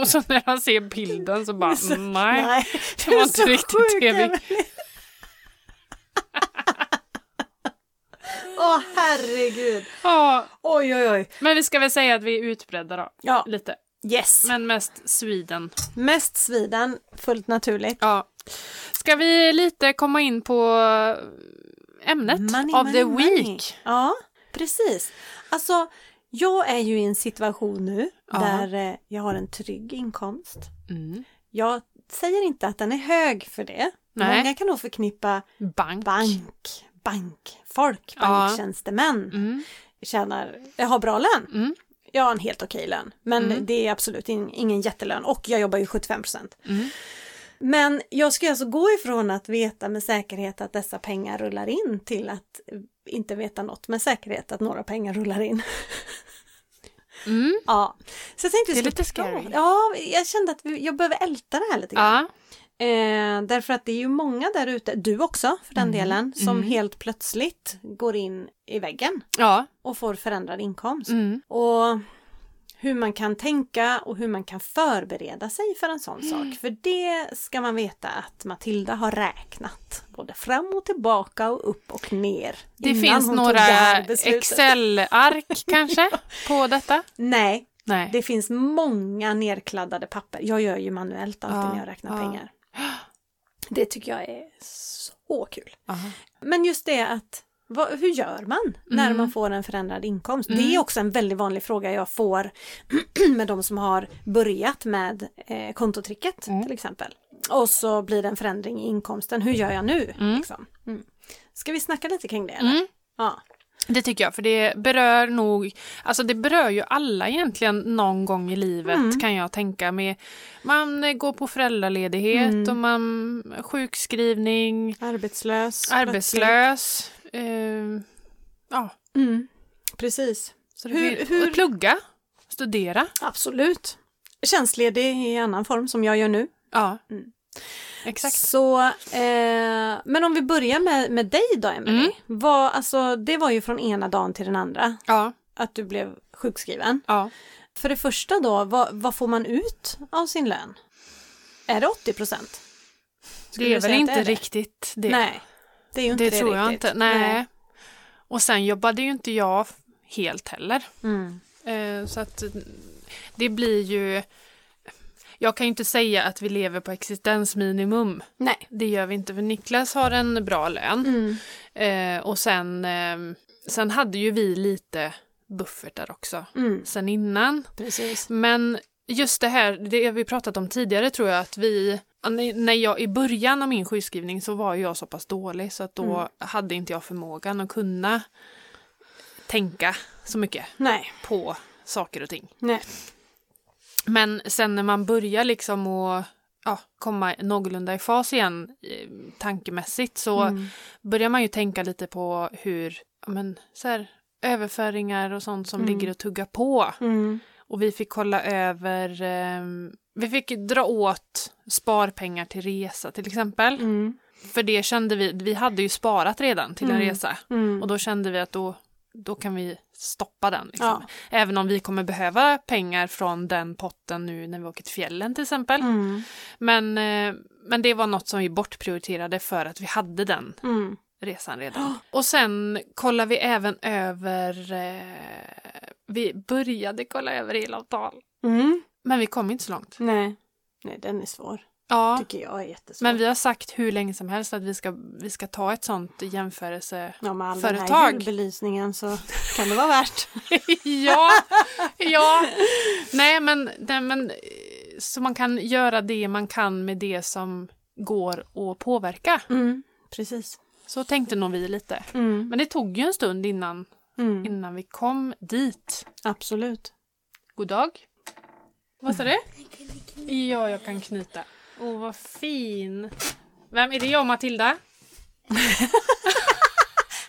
B: Och så när man ser bilden så bara
A: Så-
B: nej, det
A: är
B: var inte
A: så
B: riktigt det
A: sjuka
B: vi...
A: människor. Åh herregud.
B: Ja,
A: Oj oj oj.
B: men vi ska väl säga att vi är utbredda då,
A: Ja,
B: lite.
A: yes.
B: Men mest Sweden.
A: Mest Sweden, fullt naturligt.
B: Ja. Ska vi lite komma in på eh, ämnet of the week?
A: Ja, precis. Alltså, jag är ju i en situation nu
B: Ja.
A: där eh, jag har en trygg inkomst.
B: Mm.
A: Jag säger inte att den är hög för det.
B: Nej.
A: Många kan nog förknippa
B: Bank.
A: bank, bankfolk,
B: Ja.
A: banktjänstemän
B: Mm.
A: tjänar, jag har bra lön.
B: Mm.
A: Jag har en helt okej lön, men
B: Mm.
A: det är absolut in, ingen jättelön och jag jobbar ju 75 procent.
B: Mm.
A: Men jag ska alltså gå ifrån att veta med säkerhet att dessa pengar rullar in till att eh, inte veta något med säkerhet att några pengar rullar in.
B: Mm.
A: ja, så jag tänkte
B: Det
A: vi
B: är lite
A: skulle
B: scary.
A: prata- Ja, jag kände att vi, jag behöver älta det här lite grann.
B: Ja.
A: Eh, därför att det är ju många där ute, du också för den
B: Mm,
A: delen, som
B: mm.
A: helt plötsligt går in i väggen
B: Ja.
A: och får förändrad inkomst.
B: Mm.
A: Och hur man kan tänka och hur man kan förbereda sig för en sån
B: Mm.
A: sak. För det ska man veta att Matilda har räknat både fram och tillbaka och upp och ner.
B: Det
A: innan
B: finns
A: hon tog det
B: några
A: här beslutet.
B: Excel-ark kanske på detta?
A: Nej,
B: Nej.
A: det finns många nerkladdade papper. Jag gör ju manuellt alltid
B: Ja,
A: när jag räknar
B: ja.
A: pengar. Det tycker jag är så kul.
B: Aha.
A: Men just det att vad, hur gör man när
B: Mm.
A: man får en förändrad inkomst?
B: Mm.
A: Det är också en väldigt vanlig fråga jag får med de som har börjat med eh, kontotricket
B: Mm.
A: till exempel. Och så blir det en förändring i inkomsten. Hur gör jag nu?
B: Mm.
A: Liksom. Mm. Ska vi snacka lite kring det? Eller?
B: Mm.
A: Ja.
B: Det tycker jag, för det berör nog, alltså det berör ju alla egentligen någon gång i livet
A: Mm.
B: kan jag tänka med. Man eh, går på föräldraledighet
A: Mm.
B: och man sjukskrivning,
A: Arbetslös.
B: arbetslös. Eh, ja,
A: Mm. Precis.
B: så det
A: Hur-
B: blir,
A: hur-
B: och plugga, studera.
A: Absolut. Tjänstledig i annan form som jag gör nu.
B: Ja,
A: Mm.
B: exakt.
A: Så, eh, men om vi börjar med, med dig då, Emelie.
B: Mm.
A: Vad, alltså, det var ju från ena dagen till den andra
B: Ja,
A: att du blev sjukskriven.
B: ja.
A: För det första då, vad, vad får man ut av sin lön? Är det 80 procent?
B: Det är väl inte riktigt det.
A: Nej, det är ju inte
B: det,
A: det,
B: tror jag
A: riktigt.
B: inte. Nej. Och sen jobbade ju inte jag f- helt heller.
A: Mm.
B: Eh, så att eh, det blir ju... Jag kan ju inte säga att vi lever på existensminimum.
A: Nej.
B: Det gör vi inte, för Niklas har en bra lön.
A: Mm.
B: Eh, och sen, eh, sen hade ju vi lite buffertar också
A: Mm.
B: sen innan.
A: Precis.
B: Men just det här, det har vi pratat om tidigare tror jag, att vi, när jag i början av min sjukskrivning så var ju jag så pass dålig så att då hade inte jag förmågan att kunna tänka så mycket
A: Nej,
B: på saker och ting.
A: nej.
B: Men sen när man börjar liksom att ja, komma någorlunda i fas igen eh, tankemässigt så
A: Mm.
B: börjar man ju tänka lite på hur ja, men, så här, överföringar och sånt som ligger och tuggar på.
A: Mm.
B: Och vi fick kolla över, ehm, vi fick dra åt sparpengar till resa till exempel.
A: Mm.
B: För det kände vi, vi hade ju sparat redan till en
A: Mm.
B: resa.
A: Mm.
B: Och då kände vi att då, då kan vi stoppa den. Liksom.
A: Ja.
B: Även om vi kommer behöva pengar från den potten nu när vi åker till fjällen till exempel.
A: Mm.
B: Men, eh, men det var något som vi bortprioriterade för att vi hade den
A: Mm.
B: resan redan. Och sen kollar vi även över, eh, vi började kolla över elavtal.
A: Mm.
B: Men vi kom inte så långt.
A: Nej. nej, den är svår.
B: Ja,
A: Tycker jag är jättesvår.
B: men vi har sagt hur länge som helst att vi ska, vi ska ta ett sånt jämförelse
A: ja, med all den här
B: företag.
A: julbelysningen så kan det vara värt.
B: ja, ja. Nej, men, nej, men eh, så man kan göra det man kan med det som går att påverka.
A: Mm. Precis.
B: Så tänkte nog vi lite.
A: Mm.
B: Men det tog ju en stund innan,
A: Mm.
B: innan vi kom dit.
A: Absolut.
B: God dag. Vad sa du? Ja, jag kan knyta. Åh, oh, vad fin. Vem är det? Jag och Matilda?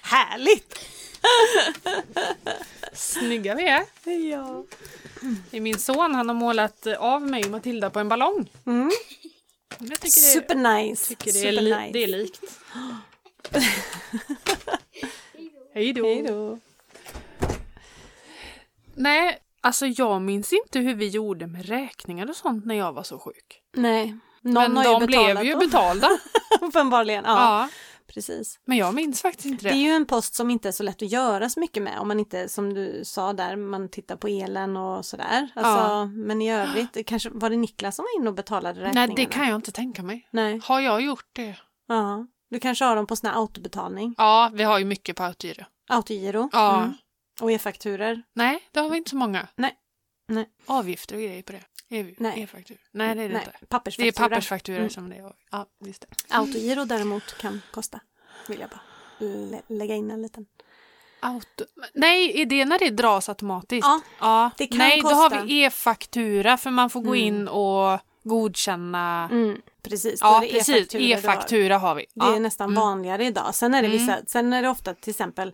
A: Härligt!
B: Snygga vi är.
A: Ja.
B: Det är min son. Han har målat eh, av mig och Matilda på en ballong.
A: Mm.
B: Jag tycker det,
A: Supernice.
B: tycker det, är,
A: Supernice.
B: li, det är likt. Hej
A: Hej
B: då!
A: då.
B: Nej, alltså jag minns inte hur vi gjorde med räkningar och sånt när jag var så sjuk.
A: Nej. Någon
B: Men
A: har ju
B: de
A: betalat
B: blev ju
A: dem.
B: betalda.
A: Uppenbarligen. Ja,
B: ja.
A: precis.
B: Men jag minns faktiskt inte
A: Det
B: det.
A: är ju en post som inte är så lätt att göra så mycket med om man inte, som du sa där, man tittar på elen och sådär. Alltså,
B: Ja.
A: Men i övrigt, det kanske var det Niklas som var inne och betalade räkningarna?
B: Nej, det kan jag inte tänka mig.
A: Nej,
B: Har jag gjort det?
A: ja. Du kanske har dem på sån här autobetalning,
B: Ja, vi har ju mycket på autogiro.
A: autogiro
B: Ja.
A: mm. och e-fakturor.
B: Nej, det har vi inte så många.
A: Nej. Nej.
B: Avgifter och grejer på det. E-
A: Nej.
B: E-faktura. Nej, det är det
A: Nej,
B: inte. Det är
A: pappersfaktura.
B: pappersfakturor
A: Mm.
B: som det är. Ja, just det.
A: Autogiro däremot kan kosta, vill jag bara lä- lägga in en liten.
B: Auto... Nej, är det när det dras automatiskt?
A: Ja,
B: ja.
A: det kan
B: Nej, då
A: kosta.
B: har vi e-faktura för man får gå in och godkänna.
A: Mm, precis, då
B: Ja,
A: är det
B: precis.
A: e-fakturor du har.
B: E-faktura har vi.
A: Det
B: ja. Mm.
A: är nästan vanligare idag. Sen är, det vissa, sen är det ofta till exempel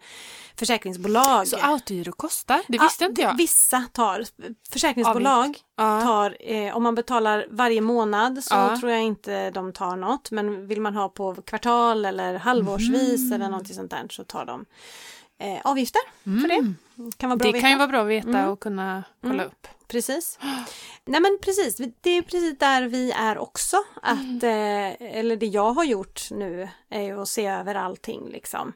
A: försäkringsbolag.
B: Så autogiro kostar? Det visste
A: Ja,
B: inte jag.
A: Vissa tar, försäkringsbolag
B: Ja.
A: tar, eh, om man betalar varje månad så
B: Ja.
A: tror jag inte de tar något. Men vill man ha på kvartal eller halvårsvis
B: Mm.
A: eller någonting sånt där så tar de eh, avgifter för det. Kan vara bra att
B: Mm. det
A: veta. Mm.
B: kan ju vara bra att veta och kunna kolla upp.
A: Precis. Nej men precis, Vi- det är precis där vi är också. Att,
B: Mm.
A: eh, eller det jag har gjort nu är ju att se över allting liksom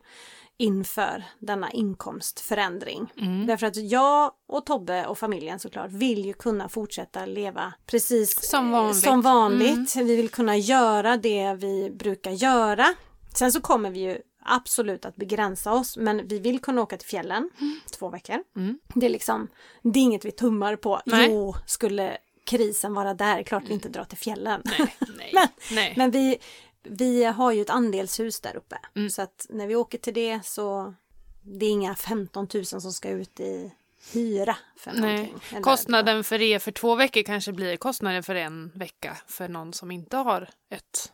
A: inför denna inkomstförändring.
B: Mm.
A: Därför att jag och Tobbe och familjen såklart vill ju kunna fortsätta leva precis
B: Som
A: eh,
B: vanligt. Mm.
A: Som vanligt. Vi vill kunna göra det vi brukar göra. Sen så kommer vi ju absolut att begränsa oss men vi vill kunna åka till fjällen två veckor.
B: Mm.
A: Det är liksom, det är inget vi tummar på.
B: Nej. Mm.
A: Jo, skulle krisen vara där, klart vi inte drar till fjällen.
B: Nej, nej.
A: Men-
B: nej.
A: Men vi, vi har ju ett andelshus där uppe.
B: Mm.
A: Så att när vi åker till det så det är inga 15 000 som ska ut i hyra för
B: Nej.
A: någonting. Eller-
B: Kostnaden för er för två veckor kanske blir kostnaden för en vecka för någon som inte har ett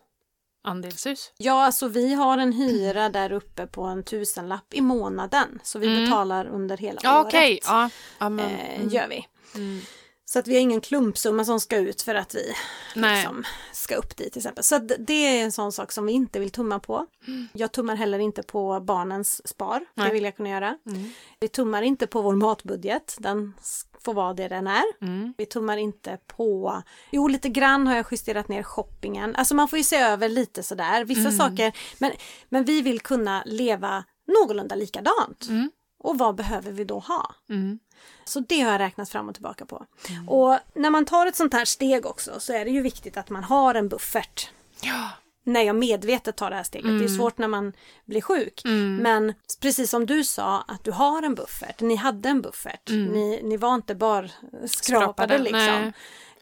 B: andelshus.
A: Ja, alltså vi har en hyra där uppe på en tusenlapp i månaden. Så vi
B: Mm.
A: betalar under hela
B: Ja,
A: året.
B: okej. Ja. Ja, men,
A: eh,
B: mm,
A: Gör vi.
B: mm.
A: Så att vi har ingen klumpsumma som ska ut för att vi
B: Nej.
A: liksom ska upp dit till exempel. Så att det är en sån sak som vi inte vill tumma på. Jag tummar heller inte på barnens spar,
B: Mm. Nej.
A: det vill jag kunna göra.
B: Mm.
A: Vi tummar inte på vår matbudget, den s- får vara det den är.
B: Mm.
A: Vi tummar inte på, jo lite grann har jag justerat ner shoppingen. Alltså man får ju se över lite sådär, vissa
B: Mm.
A: saker. Men, men vi vill kunna leva någorlunda likadant.
B: Mm.
A: Och vad behöver vi då ha?
B: Mm.
A: Så det har jag räknat fram och tillbaka på. Och när man tar ett sånt här steg också så är det ju viktigt att man har en buffert.
B: Ja.
A: När jag medvetet tar det här steget.
B: Mm.
A: Det är ju svårt när man blir sjuk. Men precis som du sa att du har en buffert. Ni hade en buffert. Ni, ni var inte bara skrapade
B: Mm. Skrapade,
A: liksom.
B: nej.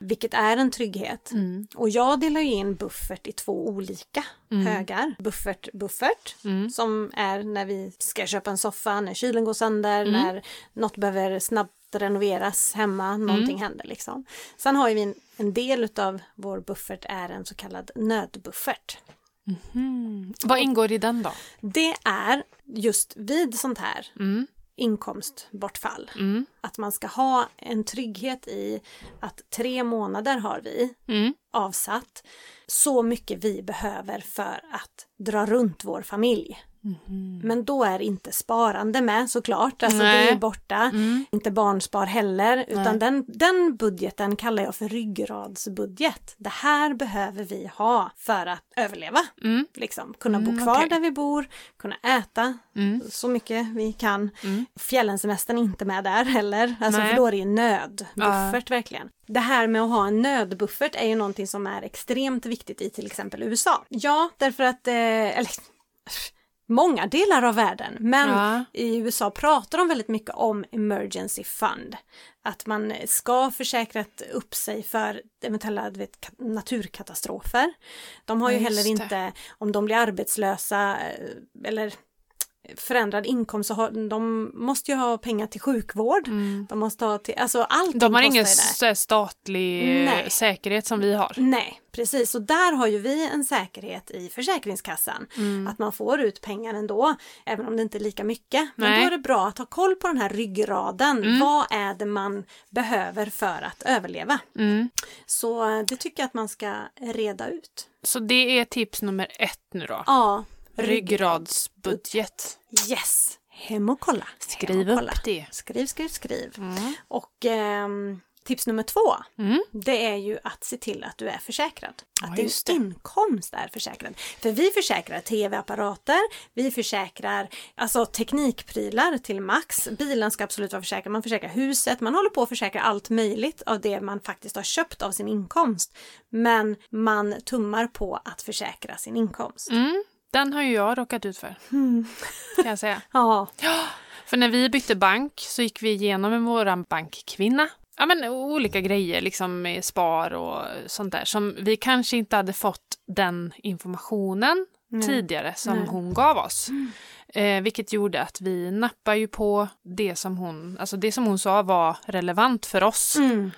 A: vilket är en trygghet.
B: Mm.
A: Och jag delar ju in buffert i två olika högar. Buffert, buffert, som är när vi ska köpa en soffa, när kylen går sönder, när något behöver snabbt renoveras hemma, någonting händer liksom. Sen har ju vi en, en del utav vår buffert är en så kallad nödbuffert.
B: Vad ingår i den då?
A: Det är just vid sånt här
B: Mm.
A: inkomstbortfall.
B: Mm.
A: Att man ska ha en trygghet i att tre månader har vi
B: Mm.
A: avsatt så mycket vi behöver för att dra runt vår familj. Men då är inte sparande med såklart, alltså
B: Mhm. Nej.
A: det är borta.
B: Mm.
A: Inte barnspar heller,
B: Nej.
A: utan den, den budgeten kallar jag för ryggradsbudget. Det här behöver vi ha för att överleva.
B: Mm.
A: Liksom, kunna
B: Mm,
A: bo kvar
B: okej.
A: där vi bor, kunna äta
B: Mm.
A: så mycket vi kan.
B: Mm.
A: Fjällensemestern är inte med där heller, alltså
B: Nej.
A: för då är det ju nöd, buffert verkligen. Det här med att ha en nödbuffert är ju någonting som är extremt viktigt i till exempel USA. Ja, därför att, eh, eller många delar av världen, men
B: Ja.
A: i USA pratar de väldigt mycket om emergency fund. Att man ska försäkra upp sig för eventuella du vet, ka- naturkatastrofer. De har ju
B: Ja, just
A: heller
B: det.
A: inte, om de blir arbetslösa eh, eller förändrad inkomst så har, de måste ju ha pengar till sjukvård.
B: Mm.
A: De måste ha till, alltså allting
B: De har
A: kostar
B: ingen
A: ju där.
B: s- statlig eh,
A: Nej.
B: säkerhet som vi har.
A: Nej, precis. Och där har ju vi en säkerhet i Försäkringskassan.
B: Mm.
A: Att man får ut pengar ändå, även om det inte är lika mycket. Men
B: Nej. Mm.
A: då är det bra att ha koll på den här ryggraden. Vad är det man behöver för att överleva?
B: Mm.
A: Så eh, det tycker jag att man ska reda ut.
B: Så det är tips nummer ett nu då.
A: Ja,
B: Ryggradsbudget.
A: Yes! Hem och kolla. Hem
B: Skriv
A: och kolla.
B: upp det.
A: Skriv, skriv, skriv.
B: Mm.
A: Och ehm, tips nummer två,
B: Mm.
A: det är ju att se till att du är försäkrad. Att
B: Ja,
A: din
B: just det.
A: inkomst är försäkrad. För vi försäkrar tv-apparater, vi försäkrar alltså teknikprylar till max, bilen ska absolut vara försäkrad, man försäkrar huset, man håller på att försäkra allt möjligt av det man faktiskt har köpt av sin inkomst. Men man tummar på att försäkra sin inkomst.
B: Mm. Den har ju jag råkat ut för,
A: Mm.
B: kan jag säga.
A: Ja,
B: För när vi bytte bank så gick vi igenom med vår bankkvinna. Ja, men olika grejer, liksom med spar och sånt där, som vi kanske inte hade fått den informationen tidigare som
A: Nej. Mm.
B: hon gav oss. Eh, vilket gjorde att vi nappade ju på det som hon, alltså det som hon sa var relevant för oss.
A: mm.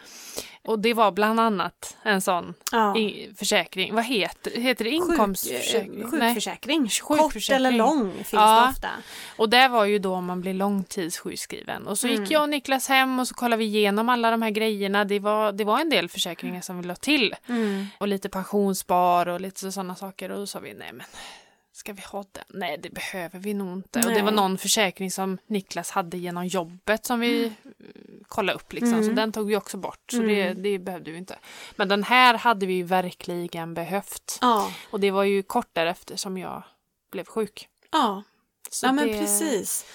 B: Och det var bland annat en sån
A: ja.
B: i, försäkring, vad heter, heter det inkomstförsäkring?
A: Sjuk, eh,
B: Nej.
A: sjukförsäkring. Kort
B: Sjukförsäkring.
A: eller lång finns
B: Ja.
A: det ofta.
B: Och det var ju då man blev långtidssjukskriven. Och så
A: Mm.
B: gick jag och Niklas hem och så kollade vi igenom alla de här grejerna. Det var, det var en del försäkringar som vi la till.
A: Mm.
B: Och lite pensionsspar och lite sådana saker. Och då sa vi, nej men ska vi ha den? Nej, det behöver vi nog inte. Och det
A: Nej.
B: var någon försäkring som Niklas hade genom jobbet som vi
A: Mm.
B: eh, kollade upp liksom. Så den tog vi också bort. Så
A: Mm.
B: det, det behövde vi inte. Men den här hade vi ju verkligen behövt.
A: Ja,
B: Och det var ju kort därefter som jag blev sjuk.
A: ja.
B: Så
A: ja men
B: det-
A: precis.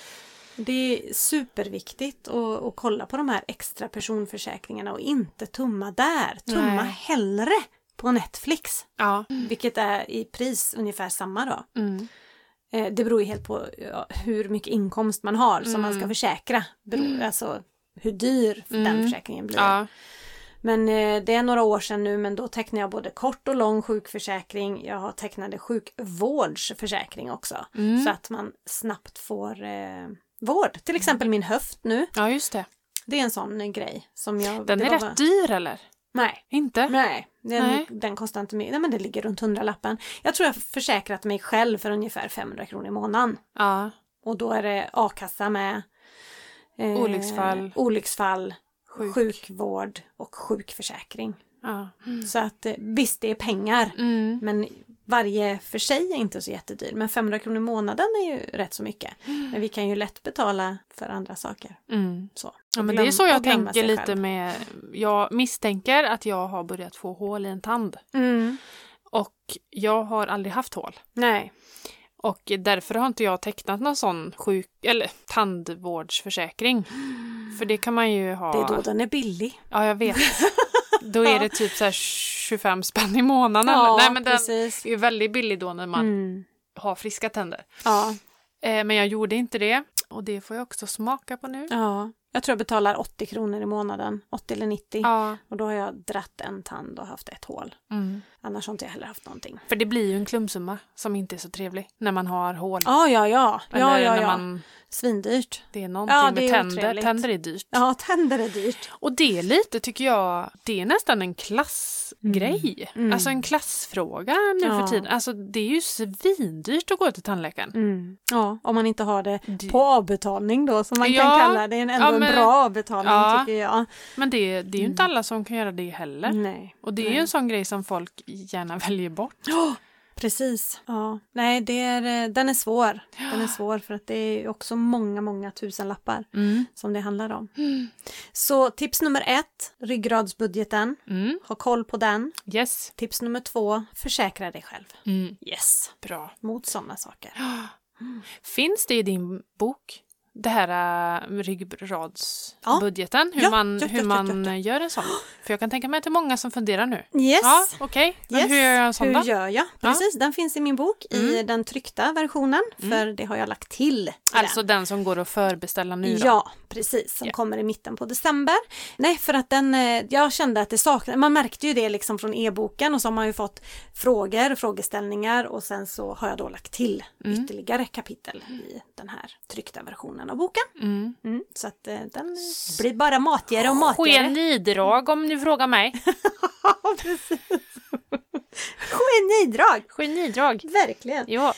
A: Det är superviktigt att, att kolla på de här extra personförsäkringarna och inte tumma där. Tumma
B: Nej.
A: hellre på Netflix,
B: Ja.
A: vilket är i pris ungefär samma då.
B: Mm.
A: Eh, Det beror ju helt på ja, hur mycket inkomst man har som man ska försäkra. Beror, alltså hur dyr den försäkringen blir.
B: Ja.
A: Men eh, det är några år sedan nu men då tecknade jag både kort och lång sjukförsäkring. Jag har tecknade sjukvårdsförsäkring också.
B: Mm.
A: Så att man snabbt får eh, vård. Till exempel min höft nu.
B: ja, just det.
A: Det är en sån eh, grej som jag...
B: Den
A: det
B: är
A: var
B: rätt
A: bara-
B: dyr eller?
A: Nej.
B: Inte?
A: Nej, den,
B: Nej.
A: den kostar inte mycket. Nej men det ligger runt hundralappen. Jag tror jag har försäkrat mig själv för ungefär 500 kronor i månaden.
B: Ja.
A: Och då är det a-kassa med. eh,
B: Olycksfall.
A: Olycksfall.
B: Sjuk.
A: Sjukvård och sjukförsäkring.
B: ja.
A: Så att eh, visst, det är pengar.
B: Mm.
A: Men varje för sig är inte så jättedyr. Men 500 kronor i månaden är ju rätt så mycket. Men vi kan ju lätt betala för andra saker.
B: Mm.
A: Så.
B: Ja,
A: Och
B: men
A: glöm-
B: det är så jag
A: och glömma sig
B: tänker lite
A: själv.
B: med... Jag misstänker att jag har börjat få hål i en tand.
A: Mm.
B: Och jag har aldrig haft hål.
A: Nej.
B: Och därför har inte jag tecknat någon sån sjuk... Eller tandvårdsförsäkring. För det kan man ju ha...
A: Det är då den är billig.
B: Ja, jag vet. Då är det typ så här 25 spänn i månaden. Nej, men den
A: precis.
B: är ju väldigt billig då när man
A: Mm.
B: har friska tänder.
A: Ja.
B: Eh, men jag gjorde inte det. Och det får jag också smaka på nu.
A: Ja. Jag tror jag betalar 80 kronor i månaden, 80 eller 90.
B: Ja.
A: Och då har jag dratt en tand och haft ett hål.
B: Mm.
A: Annars har inte jag heller haft någonting.
B: För det blir ju en klumpsumma som inte är så trevlig när man har hål.
A: Ja, ja, ja. Ja,
B: Eller
A: ja,
B: när
A: ja.
B: man,
A: Svindyrt.
B: det är någonting
A: Ja, det
B: med
A: är
B: tänder.
A: otrevligt.
B: Tänder är dyrt.
A: Ja, tänder är dyrt.
B: Och det är lite, tycker jag, det är nästan en klassgrej.
A: Mm.
B: Alltså en klassfråga nu
A: Ja.
B: för tiden. Alltså det är ju svindyrt att gå till tandläkaren.
A: Mm. Ja, om man inte har det
B: Det-
A: på avbetalning då, som man
B: Ja,
A: kan kalla det. Det är ändå
B: ja, men-
A: en bra avbetalning
B: Ja.
A: tycker jag.
B: Men det, det är ju inte alla som kan göra det heller.
A: Mm. Nej.
B: Och det är ju en sån grej som folk gärna väljer bort.
A: Precis. Ja. Nej, det är, eh, den är svår. Den är svår för att det är ju också många, många tusen lappar
B: Mm.
A: som det handlar om. Så tips nummer ett, ryggradsbudgeten.
B: Mm.
A: Ha koll på den.
B: Yes.
A: Tips nummer två, försäkra dig själv.
B: Mm.
A: Yes,
B: Bra.
A: mot sådana saker.
B: Finns det i din bok, det här äh,
A: Ja.
B: ryggradsbudgeten, hur
A: Ja,
B: man,
A: ja, ja,
B: hur
A: ja,
B: man
A: ja,
B: gör en sån? För jag kan tänka mig att det är många som funderar nu.
A: Yes.
B: Ja, okej. Men
A: Yes.
B: hur gör jag en sån
A: Hur
B: då?
A: gör jag?
B: Ja. Mm.
A: Precis, den finns i min bok i den tryckta versionen, för det har jag lagt till. i
B: Alltså den som går att förbeställa nu då?
A: Ja, precis. Som
B: Ja.
A: kommer i mitten på december. Nej, för att den, eh, jag kände att det saknades. Man märkte ju det liksom från e-boken och så har man ju fått frågor och frågeställningar och sen så har jag då lagt till
B: Mm.
A: ytterligare kapitel i den här tryckta versionen av boken.
B: Mm.
A: Mm, så att eh, den blir bara matigare och matigare.
B: Genidrag om ni frågar mig.
A: Ja, precis. Genidrag!
B: Genidrag.
A: Verkligen.
B: Ja.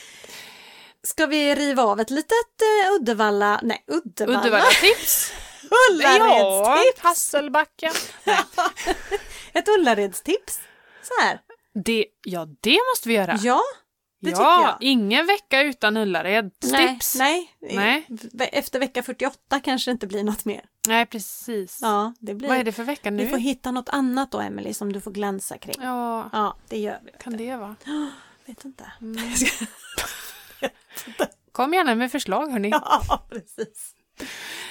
A: Ska vi riva av ett litet eh, Uddevalla, nej Uddevalla,
B: Uddevallatips.
A: Ullaredstips!
B: Hasselbacken.
A: Ett Ullaredstips. Så här.
B: Det, ja, det måste vi göra.
A: Ja, det
B: ja,
A: tycker jag.
B: ingen vecka utan Ullared. Tips.
A: Nej, nej.
B: Nej.
A: Ve- Efter vecka 48 kanske det inte blir något mer.
B: Nej, precis.
A: Ja, det blir.
B: Vad är det för vecka nu?
A: Du får hitta något annat då, Emily, som du får glänsa kring. Ja,
B: Ja,
A: det gör vi.
B: kan det vara?
A: Vet inte.
B: Mm. Kom gärna med förslag, hörni.
A: Ja, precis.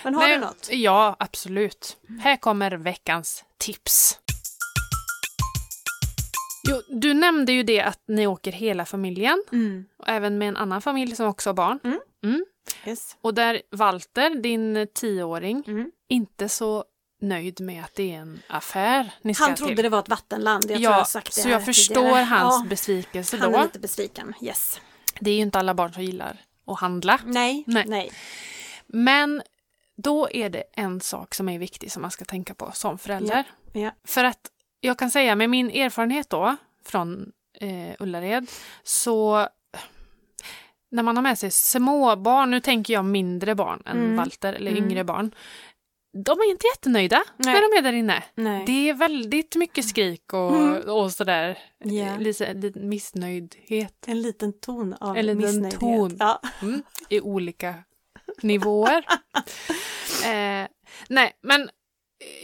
A: Men har
B: Nej,
A: du något?
B: Ja, absolut. Här kommer veckans tips. Jo, du nämnde ju det att ni åker hela familjen,
A: Mm.
B: och även med en annan familj som också har barn.
A: Yes.
B: Och där Walter, din tioåring,
A: Mm.
B: inte så nöjd med att det är en affär ni ska
A: Han trodde
B: till.
A: det var ett vattenland. Jag tror jag
B: ja,
A: har sagt det
B: så
A: här
B: jag förstår
A: tidigare.
B: hans
A: ja,
B: besvikelse
A: Han
B: då.
A: är lite besviken. Yes.
B: Det är ju inte alla barn som gillar att handla.
A: Nej,
B: Nej.
A: nej.
B: Men då är det en sak som är viktig som man ska tänka på som förälder.
A: Ja.
B: För att jag kan säga med min erfarenhet då från eh, Ullared så när man har med sig små barn, nu tänker jag mindre barn än
A: Mm.
B: Walter eller
A: Mm.
B: yngre barn, de är inte jättenöjda
A: Nej.
B: när de är där inne.
A: Nej.
B: Det är väldigt mycket skrik och,
A: Mm.
B: och sådär
A: Ja.
B: lite, lite missnöjdhet
A: En liten ton av
B: En liten
A: missnöjdhet.
B: ton.
A: Ja.
B: Mm, i olika nivåer. eh, nej, men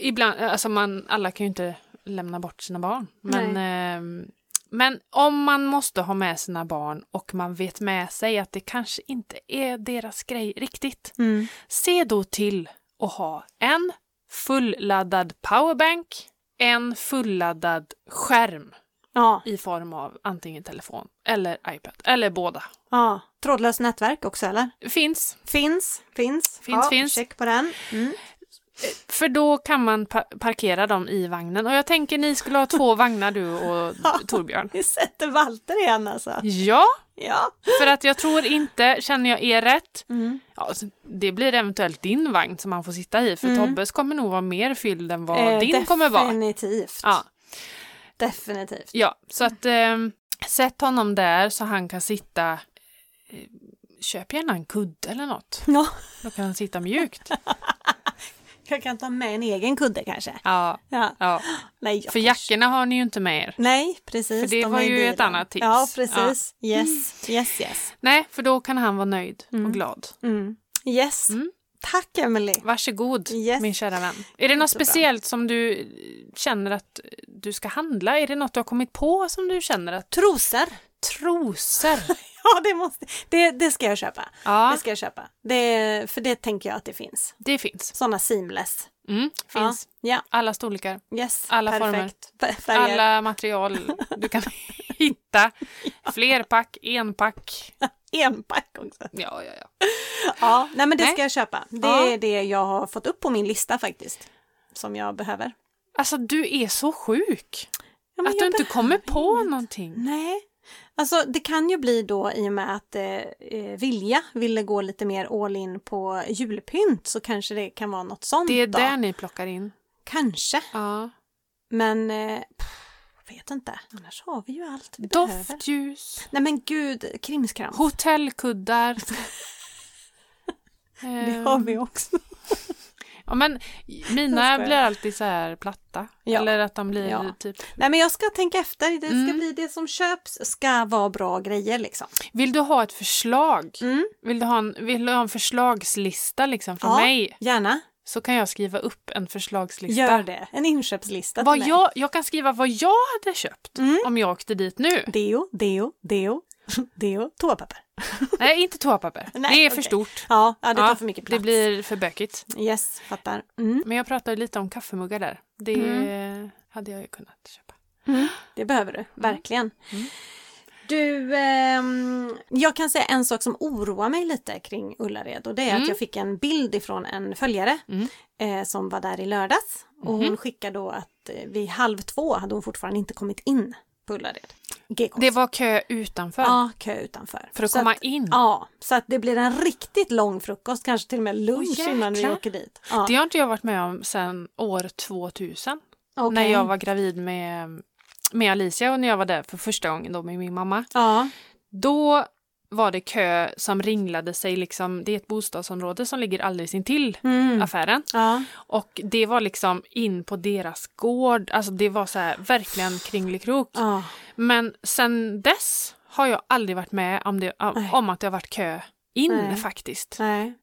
B: ibland, alltså man, alla kan ju inte lämna bort sina barn. Men, ehm, men om man måste ha med sina barn och man vet med sig att det kanske inte är deras grej riktigt,
A: Mm.
B: se då till att ha en fulladdad powerbank, en fulladdad skärm
A: Ja.
B: i form av antingen telefon eller iPad, eller båda.
A: ja. Trådlöst nätverk också eller?
B: Finns.
A: Finns, finns.
B: Finns,
A: ja,
B: finns.
A: Check på den. Mm.
B: För då kan man pa- parkera dem i vagnen. Och jag tänker ni skulle ha två vagnar du och Torbjörn.
A: Vi sätter Walter igen alltså.
B: Ja,
A: Ja.
B: för att jag tror inte, känner jag er rätt,
A: Mm.
B: ja, så det blir eventuellt din vagn som han får sitta i. För
A: Mm.
B: Tobbes kommer nog vara mer fylld än vad
A: Eh,
B: din kommer vara.
A: Definitivt.
B: Ja,
A: Definitivt.
B: ja, så att ehm, sätt honom där så han kan sitta, eh, köp gärna en kudde eller något.
A: Ja.
B: Då kan han sitta mjukt.
A: Jag kan ta med en egen kudde kanske.
B: Ja,
A: Ja.
B: ja.
A: Nej, jag
B: För jackorna har ni ju inte med er.
A: Nej, precis.
B: För det
A: de
B: var
A: är i
B: ju ett
A: bilen.
B: annat tips.
A: Ja, precis. Yes, yes, yes.
B: Nej, för då kan han vara nöjd och
A: Mm.
B: glad.
A: Mm. Yes.
B: Mm.
A: Tack Emily.
B: Varsågod,
A: Yes.
B: min kära vän. Är det något
A: Jättebra.
B: speciellt som du eh, känner att du ska handla? Är det något du har kommit på som du känner att
A: Trosor.
B: trosor?
A: Ja, det, måste, det, det ska jag köpa. Det
B: Ja,
A: ska jag köpa. Det, för det tänker jag att det finns.
B: det finns.
A: Sådana seamless.
B: Mm, finns.
A: Ja,
B: Alla storlekar,
A: ja yes.
B: Alla
A: perfekt. former. Färger.
B: alla material du kan hitta. Flerpack, enpack.
A: Enpack också.
B: Ja, ja, ja.
A: Ja, nej men det
B: Nej.
A: ska jag köpa. Det
B: Ja.
A: är det jag har fått upp på min lista faktiskt. Som jag behöver.
B: Alltså du är så sjuk.
A: Ja, men
B: att
A: jag
B: du inte
A: behöver
B: kommer på
A: inget.
B: någonting.
A: Nej. Alltså det kan ju bli då i och med att eh, eh, Vilja ville gå lite mer all in på julpynt så kanske det kan vara något sånt
B: Det är
A: då.
B: där ni plockar in.
A: Kanske.
B: Ja.
A: Men eh, pff, vet inte. Annars har vi ju allt vi behöver.
B: Doftljus,
A: Nej men gud, krimskrams.
B: hotellkuddar.
A: Det
B: Ehm,
A: har vi också.
B: ja, men
A: Jag
B: mina
A: skojar.
B: blir alltid så här platta.
A: Ja.
B: Eller att de blir
A: Ja.
B: typ...
A: Nej men jag ska tänka efter. Det ska
B: Mm.
A: bli det som köps ska vara bra grejer liksom.
B: Vill du ha ett förslag?
A: Mm.
B: Vill, du ha en, vill du ha en förslagslista liksom från
A: Ja.
B: mig?
A: Gärna.
B: Så kan jag skriva upp en förslagslista.
A: Gör det. En inköpslista
B: Vad
A: till mig.
B: jag, jag kan skriva vad jag hade köpt
A: Mm.
B: om jag åkte dit nu.
A: Deo, deo, deo, deo, toapapper.
B: Nej, inte toapapper.
A: Nej,
B: det är för
A: okej.
B: stort.
A: Ja, ja det
B: Ja,
A: tar för mycket plats.
B: Det blir för bökigt.
A: Yes, fattar. Mm.
B: Men jag pratade lite om kaffemuggar där. Det hade jag ju kunnat köpa.
A: Det behöver
B: Mm.
A: du, verkligen. Du, ehm, jag kan säga en sak som oroar mig lite kring Ullared och det är att jag fick en bild ifrån en följare
B: Mm. Mhm.
A: eh, som var där i lördags och hon skickade då att eh, vid halv två hade hon fortfarande inte kommit in på Ullared. GK.
B: Det var kö utanför
A: Ja, kö utanför.
B: för att
A: Så
B: komma
A: att,
B: in.
A: Ja, så att det blir en riktigt lång frukost, kanske till och med lunch
B: Åh,
A: innan vi
B: jäklar.
A: åker dit. Ja,
B: Det har inte jag varit med om sedan år 2000.
A: okej.
B: När jag var gravid med, med Alicia och när jag var där för första gången då med min mamma.
A: Ja,
B: Då var det kö som ringlade sig liksom, det är ett bostadsområde som ligger alldeles intill
A: mm.
B: affären.
A: ja.
B: Och det var liksom in på deras gård, alltså det var så här verkligen kringelikrok.
A: ja.
B: Men sen dess har jag aldrig varit med om, det, om,
A: Nej.
B: om att det har varit kö in
A: Nej.
B: faktiskt.
A: Nej.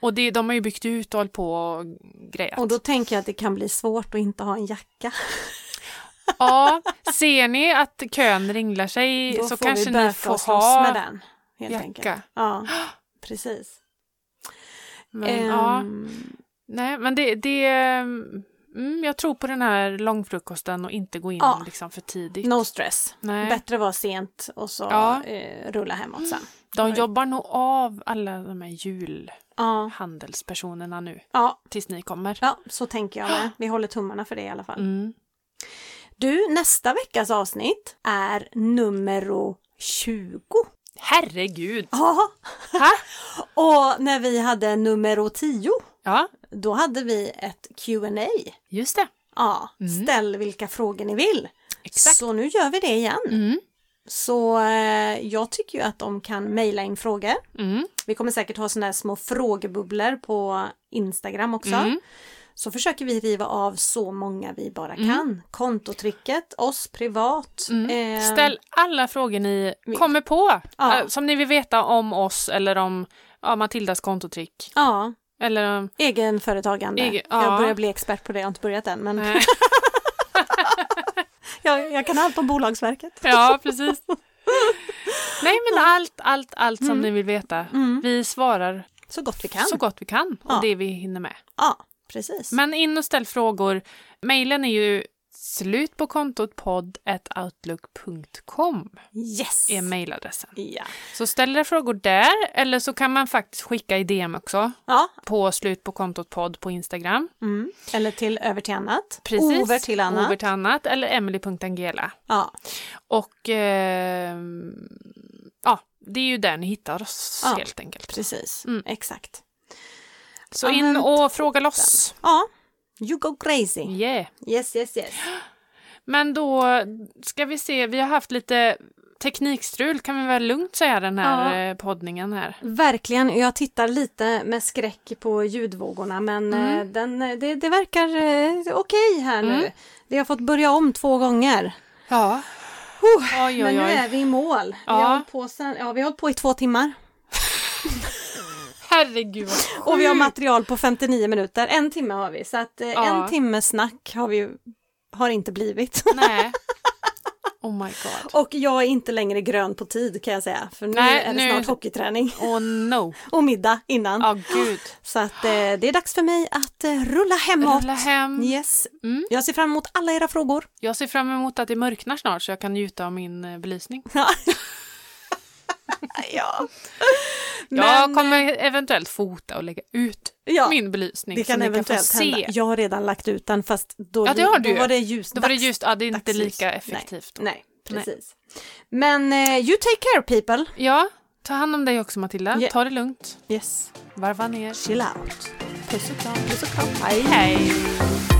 B: Och det, de har ju byggt ut och hållit på och grejat.
A: Och då tänker jag att det kan bli svårt att inte ha en jacka.
B: Ja, ser ni att kön ringlar sig
A: Då
B: så
A: får
B: kanske
A: vi
B: ni
A: böka
B: får
A: och slåss
B: ha
A: med den. Helt enkelt.
B: jacka.
A: Ja, precis.
B: Men, ja,
A: Ehm,
B: nej, men det, det mm, jag tror på den här långfrukosten och inte gå in
A: Ja.
B: liksom för tidigt.
A: No stress.
B: Nej.
A: Bättre vara sent och så
B: Ja.
A: eh, rulla hemåt sen.
B: De jobbar nog av alla de här julhandelspersonerna
A: Ja,
B: nu
A: ja,
B: tills ni kommer.
A: ja, så tänker jag med. Vi håller tummarna för det i alla fall.
B: Mm.
A: Du, nästa veckas avsnitt är nummer 20.
B: Herregud!
A: Ja,
B: Ha?
A: och när vi hade nummer 10,
B: Ja,
A: då hade vi ett Q&A.
B: just det.
A: Ja, ställ vilka frågor ni vill.
B: Mm. Exakt.
A: Så nu gör vi det igen.
B: Mm.
A: Så eh, jag tycker ju att de kan mejla in frågor.
B: Mm.
A: Vi kommer säkert ha sådana här små frågebubblor på Instagram också.
B: Mm.
A: Så försöker vi riva av så många vi bara kan. Kontotricket, oss privat.
B: Mm.
A: eh,
B: Ställ alla frågor ni kommer på,
A: Ja.
B: eh, som ni vill veta om oss eller om ja, Matildas kontotrick.
A: Ja,
B: Eller eh, om...
A: egenföretagande.
B: Egen- ja.
A: Jag börjar bli expert på det, jag har inte börjat än men
B: Nej.
A: jag, jag kan allt om Bolagsverket.
B: Ja, precis. Nej, men allt, allt, allt som ni vill veta. Vi svarar
A: Mm, Så gott vi Mm. kan.
B: så gott vi kan och
A: Ja.
B: det vi hinner med.
A: Ja, precis.
B: Men in och ställ frågor. Mailen är ju slut på kontot podd.outlook.com
A: yes!
B: är mailadressen.
A: Ja.
B: Så ställ era frågor där eller så kan man faktiskt skicka i DM också
A: ja.
B: på slut på kontot podd på Instagram.
A: Mm. Eller till över till annat.
B: Precis.
A: Over till annat.
B: Over till annat eller emily.angela.
A: Ja.
B: Och eh, ja, det är ju där ni hittar oss
A: Ja.
B: helt enkelt.
A: Precis,
B: Mm.
A: exakt.
B: Så
A: Ja,
B: in
A: men
B: och fråga loss.
A: Ja, you go crazy.
B: Yeah.
A: Yes, yes, yes.
B: Men då ska vi se, vi har haft lite teknikstrul kan vi väl lugnt säga den här eh, poddningen här.
A: Verkligen, jag tittar lite med skräck på ljudvågorna men eh, den, eh, det, det verkar eh, okej här nu. Vi har fått börja om två gånger.
B: Ja. Oj,
A: men
B: oj,
A: nu
B: oj.
A: är vi i mål. Vi,
B: Ja.
A: har hållit på sen, ja, vi har hållit på i två timmar.
B: Herregud.
A: Och vi har material på 59 minuter, en timme har vi. Så att eh,
B: Ja.
A: en timmes snack har vi ju- har inte blivit.
B: Nej. Oh my god.
A: Och jag är inte längre grön på tid kan jag säga. För nu
B: Nej,
A: är det
B: nu-
A: snart hockeyträning
B: Oh no.
A: och middag innan.
B: Ja, gud.
A: Så att eh, det är dags för mig att eh, rulla hemåt.
B: Rulla hem.
A: Yes.
B: Mm.
A: Jag ser fram emot alla era frågor.
B: Jag ser fram emot att det mörknar snart så jag kan njuta av min eh, belysning.
A: ja.
B: jag kommer eventuellt fota och lägga ut
A: eh, ja,
B: min belysning
A: det
B: så
A: kan
B: ni
A: eventuellt
B: kan få se.
A: hända. Jag har redan lagt ut den fast då,
B: Ja, det har
A: då
B: du ju.
A: var det ljus.
B: Då var det
A: dags-
B: just, ja, det är inte
A: dagsljus.
B: lika effektivt. då.
A: Nej, precis. Men eh, you take care people.
B: Ja, ta hand om dig också Matilda.
A: Ja.
B: Ta det lugnt.
A: Yes,
B: Varva ner.
A: chill out.
B: Puss och kram.
A: Puss och kram. Hej.
B: Hej.